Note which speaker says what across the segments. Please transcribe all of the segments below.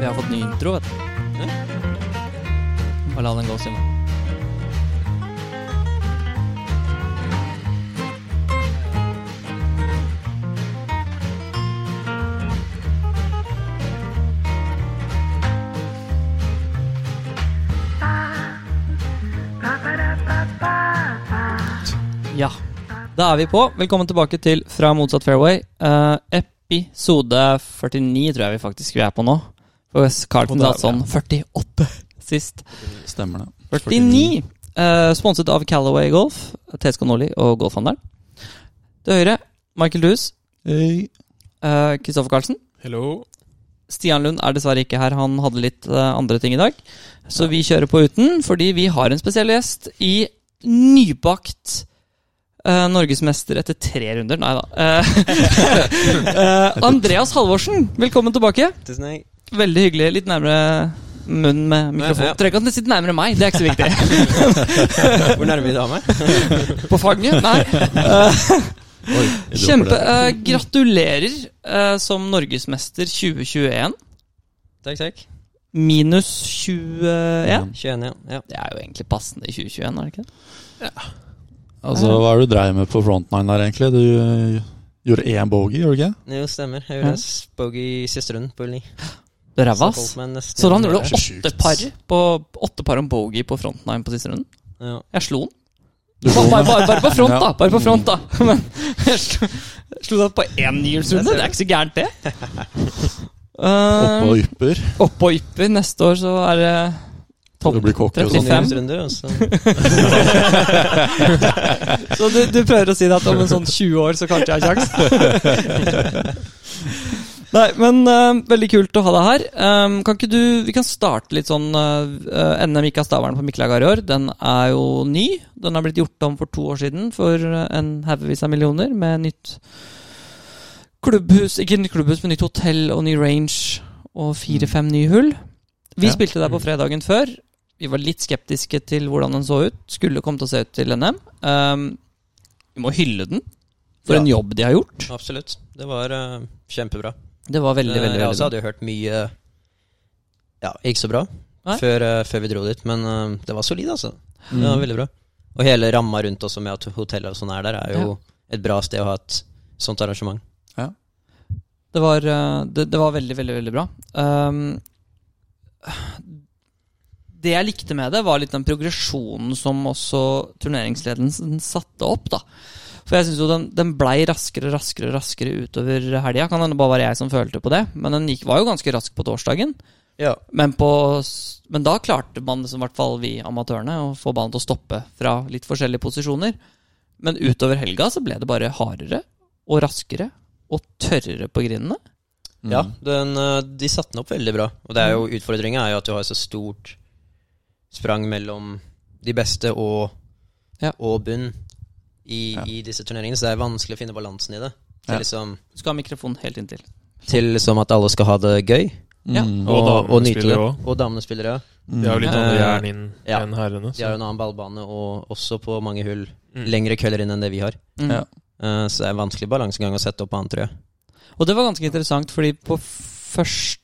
Speaker 1: Vi har fått ny intro, vet du. Bare la den gå, Simon. Ja. Da er vi på. Velkommen tilbake til Fra motsatt fairway. Eh, episode 49 tror jeg vi faktisk vi er på nå. For Carlton
Speaker 2: Og der,
Speaker 1: satt sånn 48 sist.
Speaker 2: Stemmer det.
Speaker 1: 49. Eh, sponset av Callaway Golf, TSK Nordli og Golfhandelen. Til høyre Michael Dues,
Speaker 2: Hei.
Speaker 1: eh, Kristoffer Carlsen.
Speaker 3: Hello.
Speaker 1: Stian Lund er dessverre ikke her, han hadde litt eh, andre ting i dag. Så vi kjører på uten, fordi vi har en spesiell gjest i nybakt eh, norgesmester etter tre runder. Nei da. Eh, eh, Andreas Halvorsen, velkommen tilbake.
Speaker 3: Tusen takk.
Speaker 1: Veldig hyggelig. Litt nærmere munnen med
Speaker 3: Ja,
Speaker 1: mikrofon.
Speaker 3: ja.
Speaker 1: Trenger ikke at den sitter nærmere meg, det er ikke så viktig.
Speaker 3: Hvor nærme er vi da?
Speaker 1: På fanget? Nei.
Speaker 2: Oi, jeg dropper
Speaker 1: Kjempe.
Speaker 2: det.
Speaker 1: eh, gratulerer eh, som norgesmester 2021.
Speaker 3: Takk, takk.
Speaker 1: Minus 21.
Speaker 2: Mm.
Speaker 3: 21, ja. ja.
Speaker 1: Det er jo egentlig passende i 2021, er det ikke det?
Speaker 2: Altså, Hva er det du dreier med på frontline der, egentlig? Du øh, gjorde én bogey, gjorde du ikke?
Speaker 3: Det jo stemmer. Jeg
Speaker 1: Ja.
Speaker 3: gjorde spog i siste runde på ni.
Speaker 1: Det er Ræva, ass. Så han gjorde
Speaker 2: det er så
Speaker 1: åtte
Speaker 2: sjukt,
Speaker 1: par
Speaker 2: ass.
Speaker 1: på, åtte par om bogey på frontline på siste runden.
Speaker 3: Ja.
Speaker 1: Jeg slo den.
Speaker 2: Du
Speaker 1: Bare,
Speaker 2: slo
Speaker 1: bare, bare, bare på front,
Speaker 2: Ja.
Speaker 1: da! Bare på front, da. Men jeg slo, slo den på én nyhjulsrunde. Det er ikke så gærent, det.
Speaker 2: oppå
Speaker 1: Uh,
Speaker 2: ypper.
Speaker 1: Oppå ypper. Neste år så er det topp
Speaker 2: Du blir cocky og sånn.
Speaker 1: 35.
Speaker 3: Runder, og så
Speaker 1: Så du, du prøver å si det at om en sånn 20 år så kanskje jeg har kjangs? Nei, men eh, veldig kult å ha deg her. Ehm, kan ikke du, Vi kan starte litt sånn eh, eh, NM gikk av Stavern på Mikkelagar i år. Den er jo ny. Den har blitt gjort om for to år siden for eh, en haugevis av millioner med nytt klubbhus Ikke nytt klubbhus, men nytt hotell og ny range og fire-fem nye hull. Vi
Speaker 2: Ja.
Speaker 1: spilte der på fredagen før. Vi var litt skeptiske til hvordan den så ut. Skulle komme til å se ut til NM. Ehm, vi må hylle den for
Speaker 3: Ja.
Speaker 1: en jobb de har gjort.
Speaker 3: Absolutt. Det var eh, kjempebra.
Speaker 1: Det var veldig,
Speaker 3: Eh,
Speaker 1: veldig, veldig
Speaker 3: Jeg også
Speaker 1: bra.
Speaker 3: hadde jo hørt mye Ja, ikke så bra
Speaker 1: Nei.
Speaker 3: før, eh, før vi dro dit, men eh, det var solid, altså.
Speaker 2: Mm.
Speaker 3: Det var veldig bra. Og hele ramma rundt også med at hotellet og sånn er der, er jo et bra sted å ha et sånt arrangement.
Speaker 1: Det var, eh, det, det var veldig, veldig, veldig bra. Ehm, det jeg likte med det, var litt den progresjonen som også turneringsledelsen satte opp. da. For jeg synes jo den, den blei raskere raskere, raskere utover helga. Kan hende bare være jeg som følte på det, men den gikk, var jo ganske rask på torsdagen.
Speaker 3: Ja.
Speaker 1: Men, på, s- men da klarte man, liksom, i hvert fall vi amatørene, å få ballen til å stoppe fra litt forskjellige posisjoner. Men utover helga så ble det bare hardere og raskere og tørrere på grinene.
Speaker 2: Mm.
Speaker 3: Ja, den, eh, de satte den opp veldig bra. Og det
Speaker 1: Mm.
Speaker 3: er jo utfordringa er jo at du har så stort sprang mellom de beste og,
Speaker 1: Ja.
Speaker 3: og bunn i,
Speaker 2: Ja.
Speaker 3: i disse turneringene, så det er vanskelig å finne balansen i det. Til,
Speaker 2: Ja.
Speaker 3: liksom,
Speaker 1: Du skal ha mikrofonen helt inntil.
Speaker 3: til liksom at alle skal ha det gøy,
Speaker 1: Ja.
Speaker 2: Mm.
Speaker 3: og, og,
Speaker 4: damene
Speaker 3: nyte
Speaker 4: spiller
Speaker 3: det.
Speaker 4: også.
Speaker 3: Og damene spiller òg.
Speaker 4: De har jo litt
Speaker 3: Mm.
Speaker 4: andre
Speaker 3: Eh,
Speaker 4: jern inn
Speaker 3: ja.
Speaker 4: enn herrene.
Speaker 3: De har
Speaker 4: Så.
Speaker 3: en annen ballbane, og også på mange hull
Speaker 4: Mm.
Speaker 3: lengre køller inn enn det vi har.
Speaker 1: Mm.
Speaker 2: Ja.
Speaker 3: Eh, så det er en vanskelig balansegang å sette opp annet, tror jeg.
Speaker 1: Og det var ganske interessant, fordi på første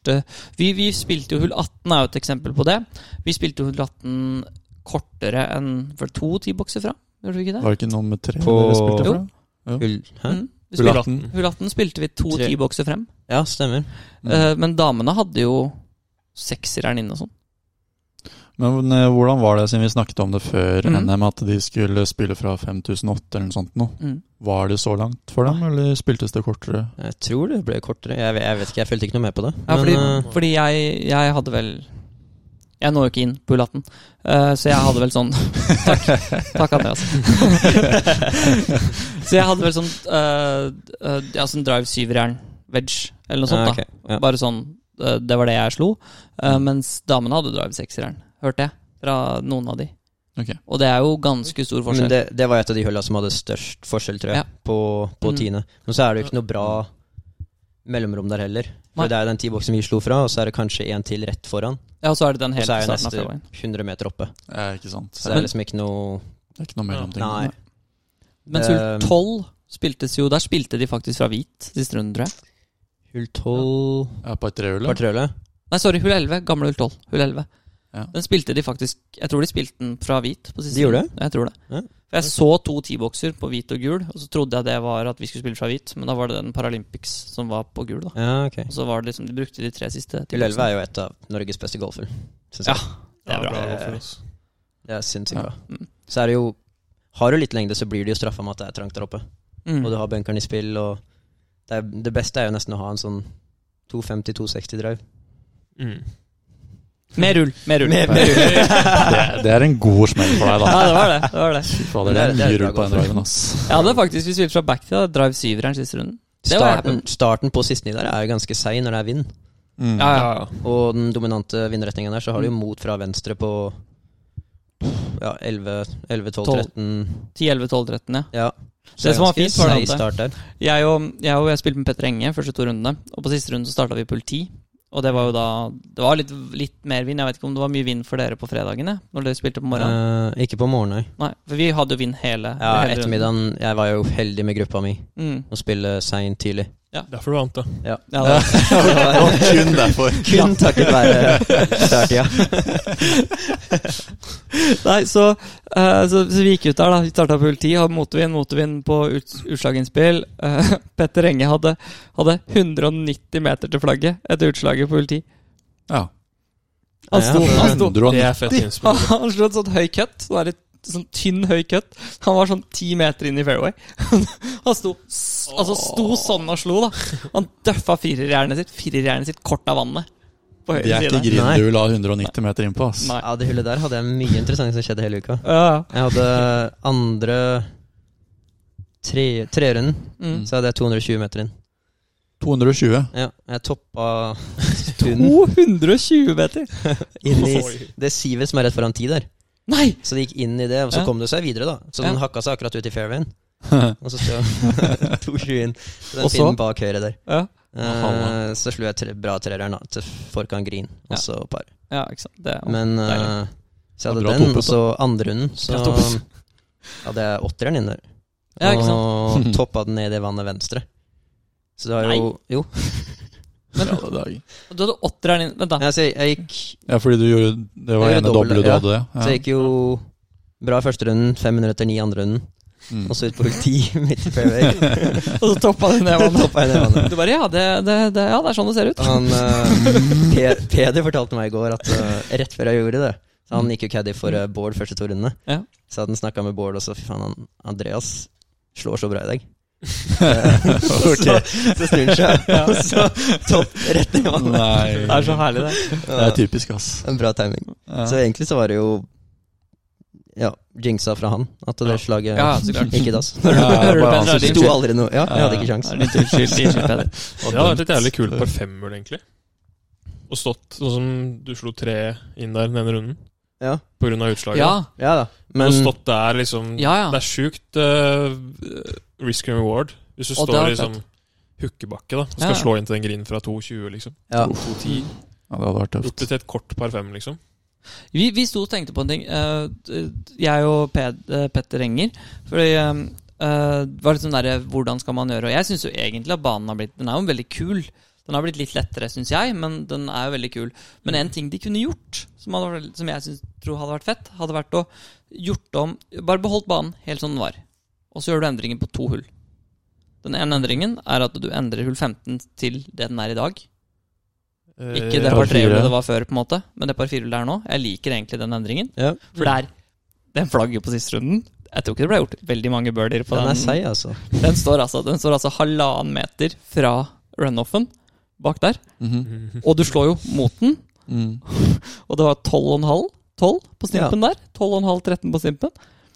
Speaker 1: Vi, vi spilte jo hull 18, er jo et eksempel på det. Vi spilte jo hull 18 kortere enn for to tibokser fra, gjorde vi ikke det?
Speaker 2: Var det ikke nummer tre
Speaker 3: På-
Speaker 2: dere spilte fra?
Speaker 3: Hull, hæ?
Speaker 1: Mm. Vi
Speaker 2: Hull
Speaker 1: spilte,
Speaker 2: 18.
Speaker 1: hull 18 spilte vi to
Speaker 3: Tre.
Speaker 1: tibokser frem.
Speaker 3: Ja, stemmer.
Speaker 2: Mm.
Speaker 1: Eh, men damene hadde jo sekseren inne og sånn.
Speaker 2: Men eh, hvordan var det, siden vi snakket om det før
Speaker 1: Mm.
Speaker 2: NM, at de skulle spille fra 5008 eller noe sånt nå?
Speaker 1: Mm.
Speaker 2: Var det så langt for dem, eller spiltes det kortere?
Speaker 3: Jeg tror det ble kortere. Jeg, jeg vet ikke, jeg fulgte ikke noe med på det.
Speaker 1: Ja,
Speaker 3: Men,
Speaker 1: fordi,
Speaker 3: eh,
Speaker 1: fordi jeg, jeg hadde vel Jeg når jo ikke inn på hull 18, eh, så jeg hadde vel sånn Takk, takk Andreas. så jeg hadde vel sånn eh, eh, Ja, sånn drive syverjern wedge, eller noe sånt.
Speaker 3: ja,
Speaker 1: da
Speaker 3: ok, ja. Mm.
Speaker 1: Bare sånn eh, Det var det jeg slo. Eh, mens damene hadde drive sekseren, hørte jeg. Fra noen av de.
Speaker 2: Ok.
Speaker 1: Og det er jo ganske stor
Speaker 3: Men
Speaker 1: forskjell.
Speaker 3: det, det var et av de hullene som hadde størst forskjell, tror jeg,
Speaker 1: Ja.
Speaker 3: på, på
Speaker 1: Mm.
Speaker 3: tiende. Men så er det jo ikke noe bra mellomrom der heller.
Speaker 1: Nei.
Speaker 3: For det er den tiboksen vi slo fra, og så er det kanskje en til rett foran.
Speaker 1: ja, og så er det den
Speaker 3: Og
Speaker 1: helt
Speaker 3: så er
Speaker 1: på
Speaker 3: jo
Speaker 1: starten av
Speaker 3: neste
Speaker 1: fairwayen.
Speaker 3: 100 meter oppe.
Speaker 2: Eh, ikke sant.
Speaker 3: Så det
Speaker 2: Det
Speaker 3: er liksom ikke noe
Speaker 2: er ikke noe mellomting.
Speaker 3: Nei.
Speaker 1: Mens
Speaker 3: Eh,
Speaker 1: hull 12 spiltes jo Der spilte de faktisk fra hvit siste runde, tror jeg.
Speaker 3: Hull tolv
Speaker 2: Ja, på et trehjul?
Speaker 3: Par trølle.
Speaker 1: Nei, sorry, hull 11. Gamle hull 12. Hull 11.
Speaker 2: Ja.
Speaker 1: Den spilte de faktisk Jeg tror de spilte den fra hvit. På siste
Speaker 3: De gjorde det?
Speaker 1: runde. Jeg tror det.
Speaker 3: Ja.
Speaker 1: For jeg så to T-bokser på hvit og gul, og så trodde jeg det var at vi skulle spille fra hvit, men da var det den Paralympics som var på gul, da.
Speaker 3: Ja, ok.
Speaker 1: Og så var det liksom De brukte de tre siste.
Speaker 3: Gull 11 er jo et av Norges beste golfer. synes jeg.
Speaker 1: Det er bra.
Speaker 3: det er- Det er sinnssykt
Speaker 2: Ja.
Speaker 1: Mm.
Speaker 3: bra. Så er det jo Har du litt lengde, så blir det jo straffa med at det er trangt der oppe.
Speaker 1: Mm.
Speaker 3: Og du har bunkeren i spill, og det, er, det beste er jo nesten å ha en sånn 250-260 drive.
Speaker 1: Mm. Mer rull! Mer rull!
Speaker 3: Mer-
Speaker 2: mer rull. Det, det er en god smell for
Speaker 1: Ja,
Speaker 2: deg, da.
Speaker 1: det var det. det, var det.
Speaker 2: Fy fader, det er
Speaker 3: Det er- det
Speaker 2: mye
Speaker 3: er
Speaker 2: rull på
Speaker 3: bra
Speaker 2: den
Speaker 3: golf.
Speaker 2: driven, ass.
Speaker 1: Jeg hadde faktisk vi spilte fra back til da, drive syveren siste runden. Det var jeg
Speaker 3: Starten, starten på sistene der er jo ganske seig når det er vind.
Speaker 2: Mm.
Speaker 1: Ja, ja.
Speaker 3: Og den dominante vindretningen der, så
Speaker 1: Mm.
Speaker 3: har du jo mot fra venstre på ja, 11, 11 12, 13
Speaker 1: 10, 11, 12, 13, ja.
Speaker 3: Ja.
Speaker 1: Det som var fint var det
Speaker 3: seig
Speaker 1: at-
Speaker 3: start der.
Speaker 1: Jeg og jeg, og jeg spilte med Petter Enge første to rundene, og på siste runde så starta vi pull 10. Og det var jo da Det var litt, litt mer vind. Jeg vet ikke om det var mye vind for dere på fredagene? Når dere spilte på morgenen?
Speaker 3: Eh, ikke på morgenen, nei.
Speaker 1: Nei, for vi hadde jo vind hele,
Speaker 3: Ja,
Speaker 1: hele runden.
Speaker 3: ettermiddagen Jeg var jo heldig med gruppa mi
Speaker 1: Mm.
Speaker 3: å spille seint tidlig.
Speaker 4: Derfor du vant, da.
Speaker 1: Ja, det var,
Speaker 2: Og kun derfor.
Speaker 3: Kun takket være starttida.
Speaker 1: nei, så, eh, så, så vi gikk ut der, da. Vi starta pull 10, hadde motvind, motvind på ut, utslaginnspill. Eh, Petter Enge hadde, hadde 190 meter til flagget etter utslaget på pull 10.
Speaker 2: Ja.
Speaker 1: Han sto,
Speaker 3: Ja,
Speaker 1: han sto
Speaker 4: Det
Speaker 2: 190.
Speaker 4: er fett innspill.
Speaker 1: Han slo en sånn høy cut. Sånn, der, litt sånn tynn høy cut. Han var sånn ti meter inn i fairway. Han sto, s- altså, sto sånn og slo, da. Han døffa firerjernet sitt firerjernet sitt kort av vannet. På
Speaker 2: Det
Speaker 1: høyre
Speaker 2: er ikke
Speaker 1: side.
Speaker 2: grind
Speaker 3: Nei.
Speaker 2: du vil ha 190 meter innpå, ass.
Speaker 1: Nei.
Speaker 3: Ja, det hullet der hadde jeg mye interessant som skjedde hele uka.
Speaker 1: Ja, ja.
Speaker 3: Jeg hadde andre tre, trerunden,
Speaker 1: Mm.
Speaker 3: så hadde jeg 220 meter inn.
Speaker 2: 220.
Speaker 3: Ja, jeg toppa tunen
Speaker 1: 220 meter!
Speaker 3: inn i
Speaker 4: Oi.
Speaker 3: det sivet som er rett foran ti der.
Speaker 1: Nei!
Speaker 3: Så det gikk inn i det, og så
Speaker 1: Ja.
Speaker 3: kom det seg videre, da. Så den
Speaker 1: Ja.
Speaker 3: hakka seg akkurat ut i fairwayen.
Speaker 2: Ja,
Speaker 3: Og så sto jeg 220 inn.
Speaker 1: Og
Speaker 3: Så den
Speaker 1: så?
Speaker 3: pinnen bak høyre der.
Speaker 1: Ja,
Speaker 3: Eh, så slo jeg tre, bra trereren da, til forkant green,
Speaker 1: Ja.
Speaker 3: og så par.
Speaker 1: ja ikke sant. Det, er-
Speaker 3: Men
Speaker 1: deilig.
Speaker 3: eh, så jeg
Speaker 2: Det er bra
Speaker 3: hadde den,
Speaker 2: toputt,
Speaker 3: og så andre runden. Så
Speaker 2: Bra toputt.
Speaker 3: hadde jeg åtteren inn der.
Speaker 1: Ja, ikke sant?
Speaker 3: Og toppa den ned i vannet venstre. Så det var jo Jo.
Speaker 1: Du hadde åtteren inn Vent, da.
Speaker 3: Jeg, jeg, jeg gikk
Speaker 2: fordi du gjorde Det var
Speaker 3: Jeg
Speaker 2: ene
Speaker 3: gjorde doble,
Speaker 2: doble du
Speaker 3: ja.
Speaker 2: hadde,
Speaker 3: Så
Speaker 2: ja.
Speaker 3: jeg gikk jo bra første runden, fem minutter ni andre runden,
Speaker 2: Mm.
Speaker 3: og så ut på hull ti midt i fairway.
Speaker 1: Og så toppa du ned vannet.
Speaker 3: Toppa jeg ned vannet.
Speaker 1: Du bare ja det, det, det, ja, det er sånn det ser ut.
Speaker 3: Han, eh, Pe- Peder fortalte meg i går at eh, rett før jeg gjorde det Så Han gikk jo caddy for eh, Bård første to rundene.
Speaker 1: Ja.
Speaker 3: Så hadde han snakka med Bård, og så fy faen, han, Andreas slår så bra i dag. Eh, så, så, så snur han seg, og så topp rett ned i vannet.
Speaker 2: Nei.
Speaker 1: Det er så herlig, det.
Speaker 2: Det er typisk, ass.
Speaker 3: En bra timing.
Speaker 2: Ja.
Speaker 3: sånn- Så egentlig så var det jo Ja, jinxa fra han. At det
Speaker 4: Ja.
Speaker 3: slaget
Speaker 1: Ja, så klart.
Speaker 3: gikk i dass.
Speaker 2: Ja,
Speaker 1: Hører du
Speaker 2: bare
Speaker 1: på
Speaker 2: han
Speaker 1: en
Speaker 2: som
Speaker 3: Det
Speaker 1: radio?
Speaker 3: sto
Speaker 2: sto-
Speaker 3: aldri noe Ja, jeg hadde ikke
Speaker 1: Det
Speaker 3: kjangs.
Speaker 1: er litt uskyld, unnskyld, Peder.
Speaker 4: Det hadde vært et jævlig kult par femhull, egentlig. Og stått sånn som du slo tre inn der den ene runden,
Speaker 3: Ja,
Speaker 4: på grunn av utslaget.
Speaker 1: Ja,
Speaker 3: ja da.
Speaker 4: og
Speaker 3: Men
Speaker 4: stått der liksom
Speaker 1: ja. ja.
Speaker 4: Det er sjukt eh, risk and reward. Hvis du
Speaker 1: Og det
Speaker 4: står
Speaker 1: er
Speaker 4: i liksom hukkebakke da og skal
Speaker 1: Ja.
Speaker 4: slå inn til den grinen fra 2,20, liksom.
Speaker 2: Ja,
Speaker 3: ja.
Speaker 2: det hadde vært
Speaker 4: Gjort
Speaker 2: tøft.
Speaker 4: det til et kort par fem, liksom.
Speaker 1: Vi, vi sto og tenkte på en ting. eh, d- jeg og Ped, eh, Petter Enger. Fordi eh, eh, det var litt sånn derre Hvordan skal man gjøre Og jeg syns jo egentlig at banen har blitt Den er jo veldig kul. Den har blitt litt lettere, syns jeg, men den er jo veldig kul. Men en ting de kunne gjort, som, hadde, vært- som jeg synes, tror hadde vært fett, hadde vært å gjort om Bare beholdt banen helt som den var, og så gjør du endringer på to hull. Den ene endringen er at du endrer hull 15 til det den er i dag. Ikke det
Speaker 4: Eh,
Speaker 2: par
Speaker 1: par tre
Speaker 2: fire.
Speaker 1: hullet det var før, på en måte, men det par fire hullet det er nå. Jeg liker egentlig den endringen.
Speaker 3: ja.
Speaker 1: For det er den flagget på siste runden. Jeg tror ikke det ble gjort veldig mange birdier på
Speaker 3: Den
Speaker 1: den.
Speaker 3: er seig, altså.
Speaker 1: Den står altså, den står altså halvannen meter fra runoffen bak der.
Speaker 2: Mhm.
Speaker 4: Mhm.
Speaker 1: Og du slår jo mot den,
Speaker 3: Mhm.
Speaker 2: Mm.
Speaker 1: og det var 12,5 12 på stimpen der. 12,5 13 på stimpen.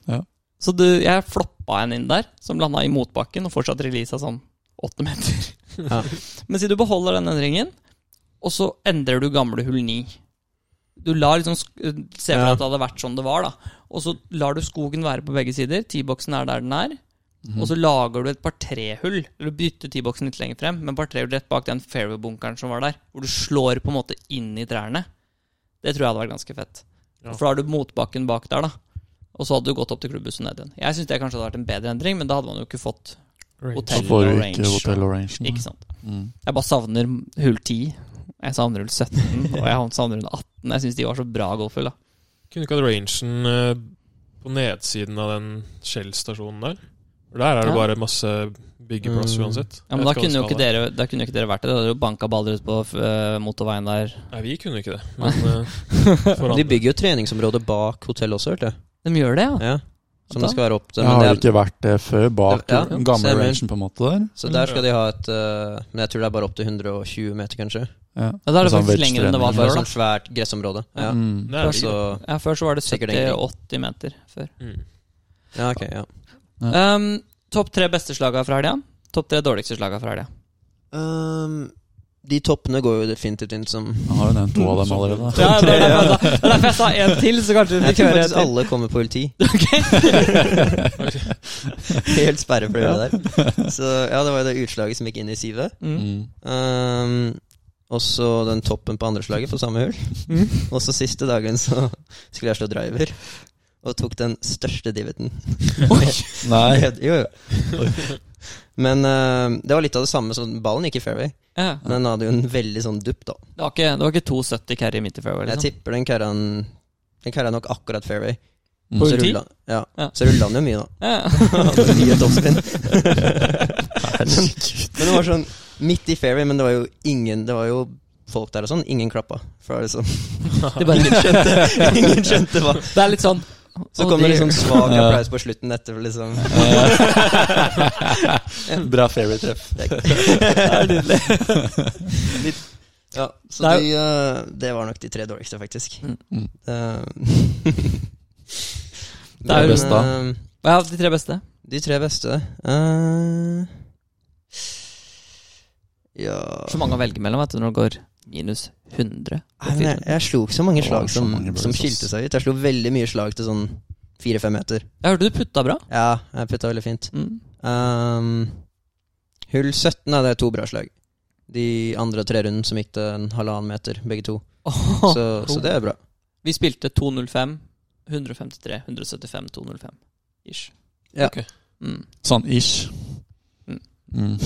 Speaker 2: Ja.
Speaker 1: Så du, jeg floppa en inn der, som landa i motbakken og fortsatt releasa sånn åtte meter.
Speaker 3: Ja.
Speaker 1: Men si du beholder den endringen, og så endrer du gamle hull 9. Du lar liksom sk- Se for deg
Speaker 3: Ja.
Speaker 1: at det hadde vært sånn det var, da. Og så lar du skogen være på begge sider. T-boksen er der den er.
Speaker 2: Mm. Mhm.
Speaker 1: Og så lager du et par trehull. Eller du bytter T-boksen litt lenger frem, men par trehull rett bak den fairway-bunkeren som var der. Hvor du slår på en måte inn i trærne. Det tror jeg hadde vært ganske fett.
Speaker 4: Ja.
Speaker 1: For da har du motbakken bak der, da. Og så hadde du gått opp til klubbhuset ned igjen. Jeg syns det kanskje hadde vært en bedre endring, men da hadde man jo ikke fått
Speaker 4: Range.
Speaker 1: hotell
Speaker 2: Så får
Speaker 1: og
Speaker 2: du
Speaker 1: range.
Speaker 2: Mhm. ikke Hotel Orange.
Speaker 1: Ikke sant.
Speaker 2: Mm.
Speaker 1: Jeg bare savner hull 10. Jeg savner hull 17, og jeg savner hull 18. Jeg syns de var så bra golfhull. da.
Speaker 4: Kunne du ikke hatt rangen eh, på nedsiden av den Shell-stasjonen der? For Der er det
Speaker 1: Ja.
Speaker 4: bare masse byggeplass
Speaker 3: Mm.
Speaker 4: uansett.
Speaker 1: Ja, men da
Speaker 4: Jeg vet ikke
Speaker 1: kunne, jo
Speaker 4: hva
Speaker 1: ikke
Speaker 4: det skal
Speaker 1: dere, da kunne jo ikke dere vært det. Da hadde dere jo banka baller ut på eh, motorveien der.
Speaker 4: være. Nei, vi kunne ikke det. Men eh, for
Speaker 3: De
Speaker 4: andre.
Speaker 3: bygger jo treningsområdet bak hotellet også, hørte jeg.
Speaker 1: De gjør det, ja.
Speaker 3: Ja. Som
Speaker 1: Da?
Speaker 3: det skal være opp til.
Speaker 2: Jeg
Speaker 3: Men det
Speaker 2: har
Speaker 3: er,
Speaker 2: ikke vært det før, bak
Speaker 3: Ja,
Speaker 2: den
Speaker 3: så
Speaker 2: gamle
Speaker 3: jeg-
Speaker 2: rangen, på en måte. der
Speaker 3: så der skal de ha et eh, Men jeg tror det er bare opp til 120 meter, kanskje.
Speaker 2: ja.
Speaker 1: ja da er det
Speaker 2: Sånn
Speaker 1: faktisk lenger enn det
Speaker 3: Det
Speaker 1: var
Speaker 3: er bare
Speaker 1: før.
Speaker 3: sånn svært gressområde. Ja.
Speaker 2: Mm.
Speaker 4: Nei,
Speaker 1: Ja,
Speaker 4: vi-
Speaker 3: Så
Speaker 1: Ja, Før så var det
Speaker 3: sånn. Sikkert egentlig.
Speaker 1: 70-80 meter. før.
Speaker 4: mm.
Speaker 3: Ja, ok, ja.
Speaker 1: Um, Topp tre beste slaga fra helga. Topp tre dårligste slaga fra helga.
Speaker 3: Ehm, de toppene går jo definitivt inn som
Speaker 2: Jeg har jo nevnt to av dem allerede.
Speaker 1: Ja, det er derfor jeg sa- det er derfor jeg sa én til, så kanskje du
Speaker 3: Jeg
Speaker 1: fikk
Speaker 3: tror
Speaker 1: høre en
Speaker 3: faktisk
Speaker 1: til.
Speaker 3: alle kommer på hull 10. Helt sperre for det der. Så ja, det var jo det utslaget som gikk inn i sivet.
Speaker 1: Mm.
Speaker 2: Mm.
Speaker 3: Ehm, og så den toppen på andre slaget på samme hull.
Speaker 1: Mm.
Speaker 3: Og så siste dagen så skulle jeg slå driver, og tok den største diviten.
Speaker 2: Nei.
Speaker 3: Ned- Jo, jo. Men eh, det var litt av det samme som ballen gikk i fairway.
Speaker 1: Ja.
Speaker 3: Men den hadde jo en veldig sånn dupp, da.
Speaker 1: Det var ikke, det var ikke 2,70 carry midt i fairway.
Speaker 3: Jeg
Speaker 1: Liksom.
Speaker 3: tipper den kara Den kara nok akkurat fairway.
Speaker 2: Mm.
Speaker 1: På
Speaker 3: Så
Speaker 1: hull 10?
Speaker 3: rulla, ja.
Speaker 1: Ja.
Speaker 3: Så rulla den jo mye, da.
Speaker 1: Ja.
Speaker 3: Mye toppspinn. men, men det var sånn midt i fairway, men det var jo ingen Det var jo folk der og sånn. Ingen klappa. For det var liksom,
Speaker 1: Det, bare,
Speaker 3: ingen, skjønte, ingen skjønte hva
Speaker 1: det er litt sånn
Speaker 3: Så
Speaker 1: oh
Speaker 3: kom det
Speaker 1: dear.
Speaker 3: liksom svak applaus på slutten etter, liksom.
Speaker 2: Bra fairytreff.
Speaker 3: Litt, ja, så
Speaker 1: Det er
Speaker 3: de, eh, det var nok de tre dårligste, faktisk.
Speaker 1: Mm.
Speaker 2: Mm.
Speaker 3: Eh,
Speaker 1: Det er jo
Speaker 3: men,
Speaker 2: best, da.
Speaker 3: eh,
Speaker 1: Hva er de tre beste?
Speaker 3: De tre beste eh, Ja
Speaker 1: Så mange å velge mellom vet du, når det går minus 100.
Speaker 3: Nei, men jeg, jeg slo ikke så mange
Speaker 2: Det var
Speaker 3: slag
Speaker 2: så
Speaker 3: som,
Speaker 2: mange birdies,
Speaker 3: som
Speaker 2: ass.
Speaker 3: skilte seg ut. Jeg slo veldig mye slag til sånn fire-fem meter.
Speaker 1: Jeg hørte du putta bra.
Speaker 3: Ja, jeg putta veldig fint.
Speaker 1: Mm.
Speaker 3: Ehm, hull 17 hadde jeg to bra slag. De andre tre runden som gikk til en halvannen meter, begge to.
Speaker 1: Åh.
Speaker 3: Så, så det er bra.
Speaker 1: Vi spilte 205, 153, 175, 205 ish.
Speaker 3: Ja.
Speaker 4: Ok.
Speaker 1: Mm.
Speaker 2: Sånn ish.
Speaker 1: Mm.
Speaker 2: Mm.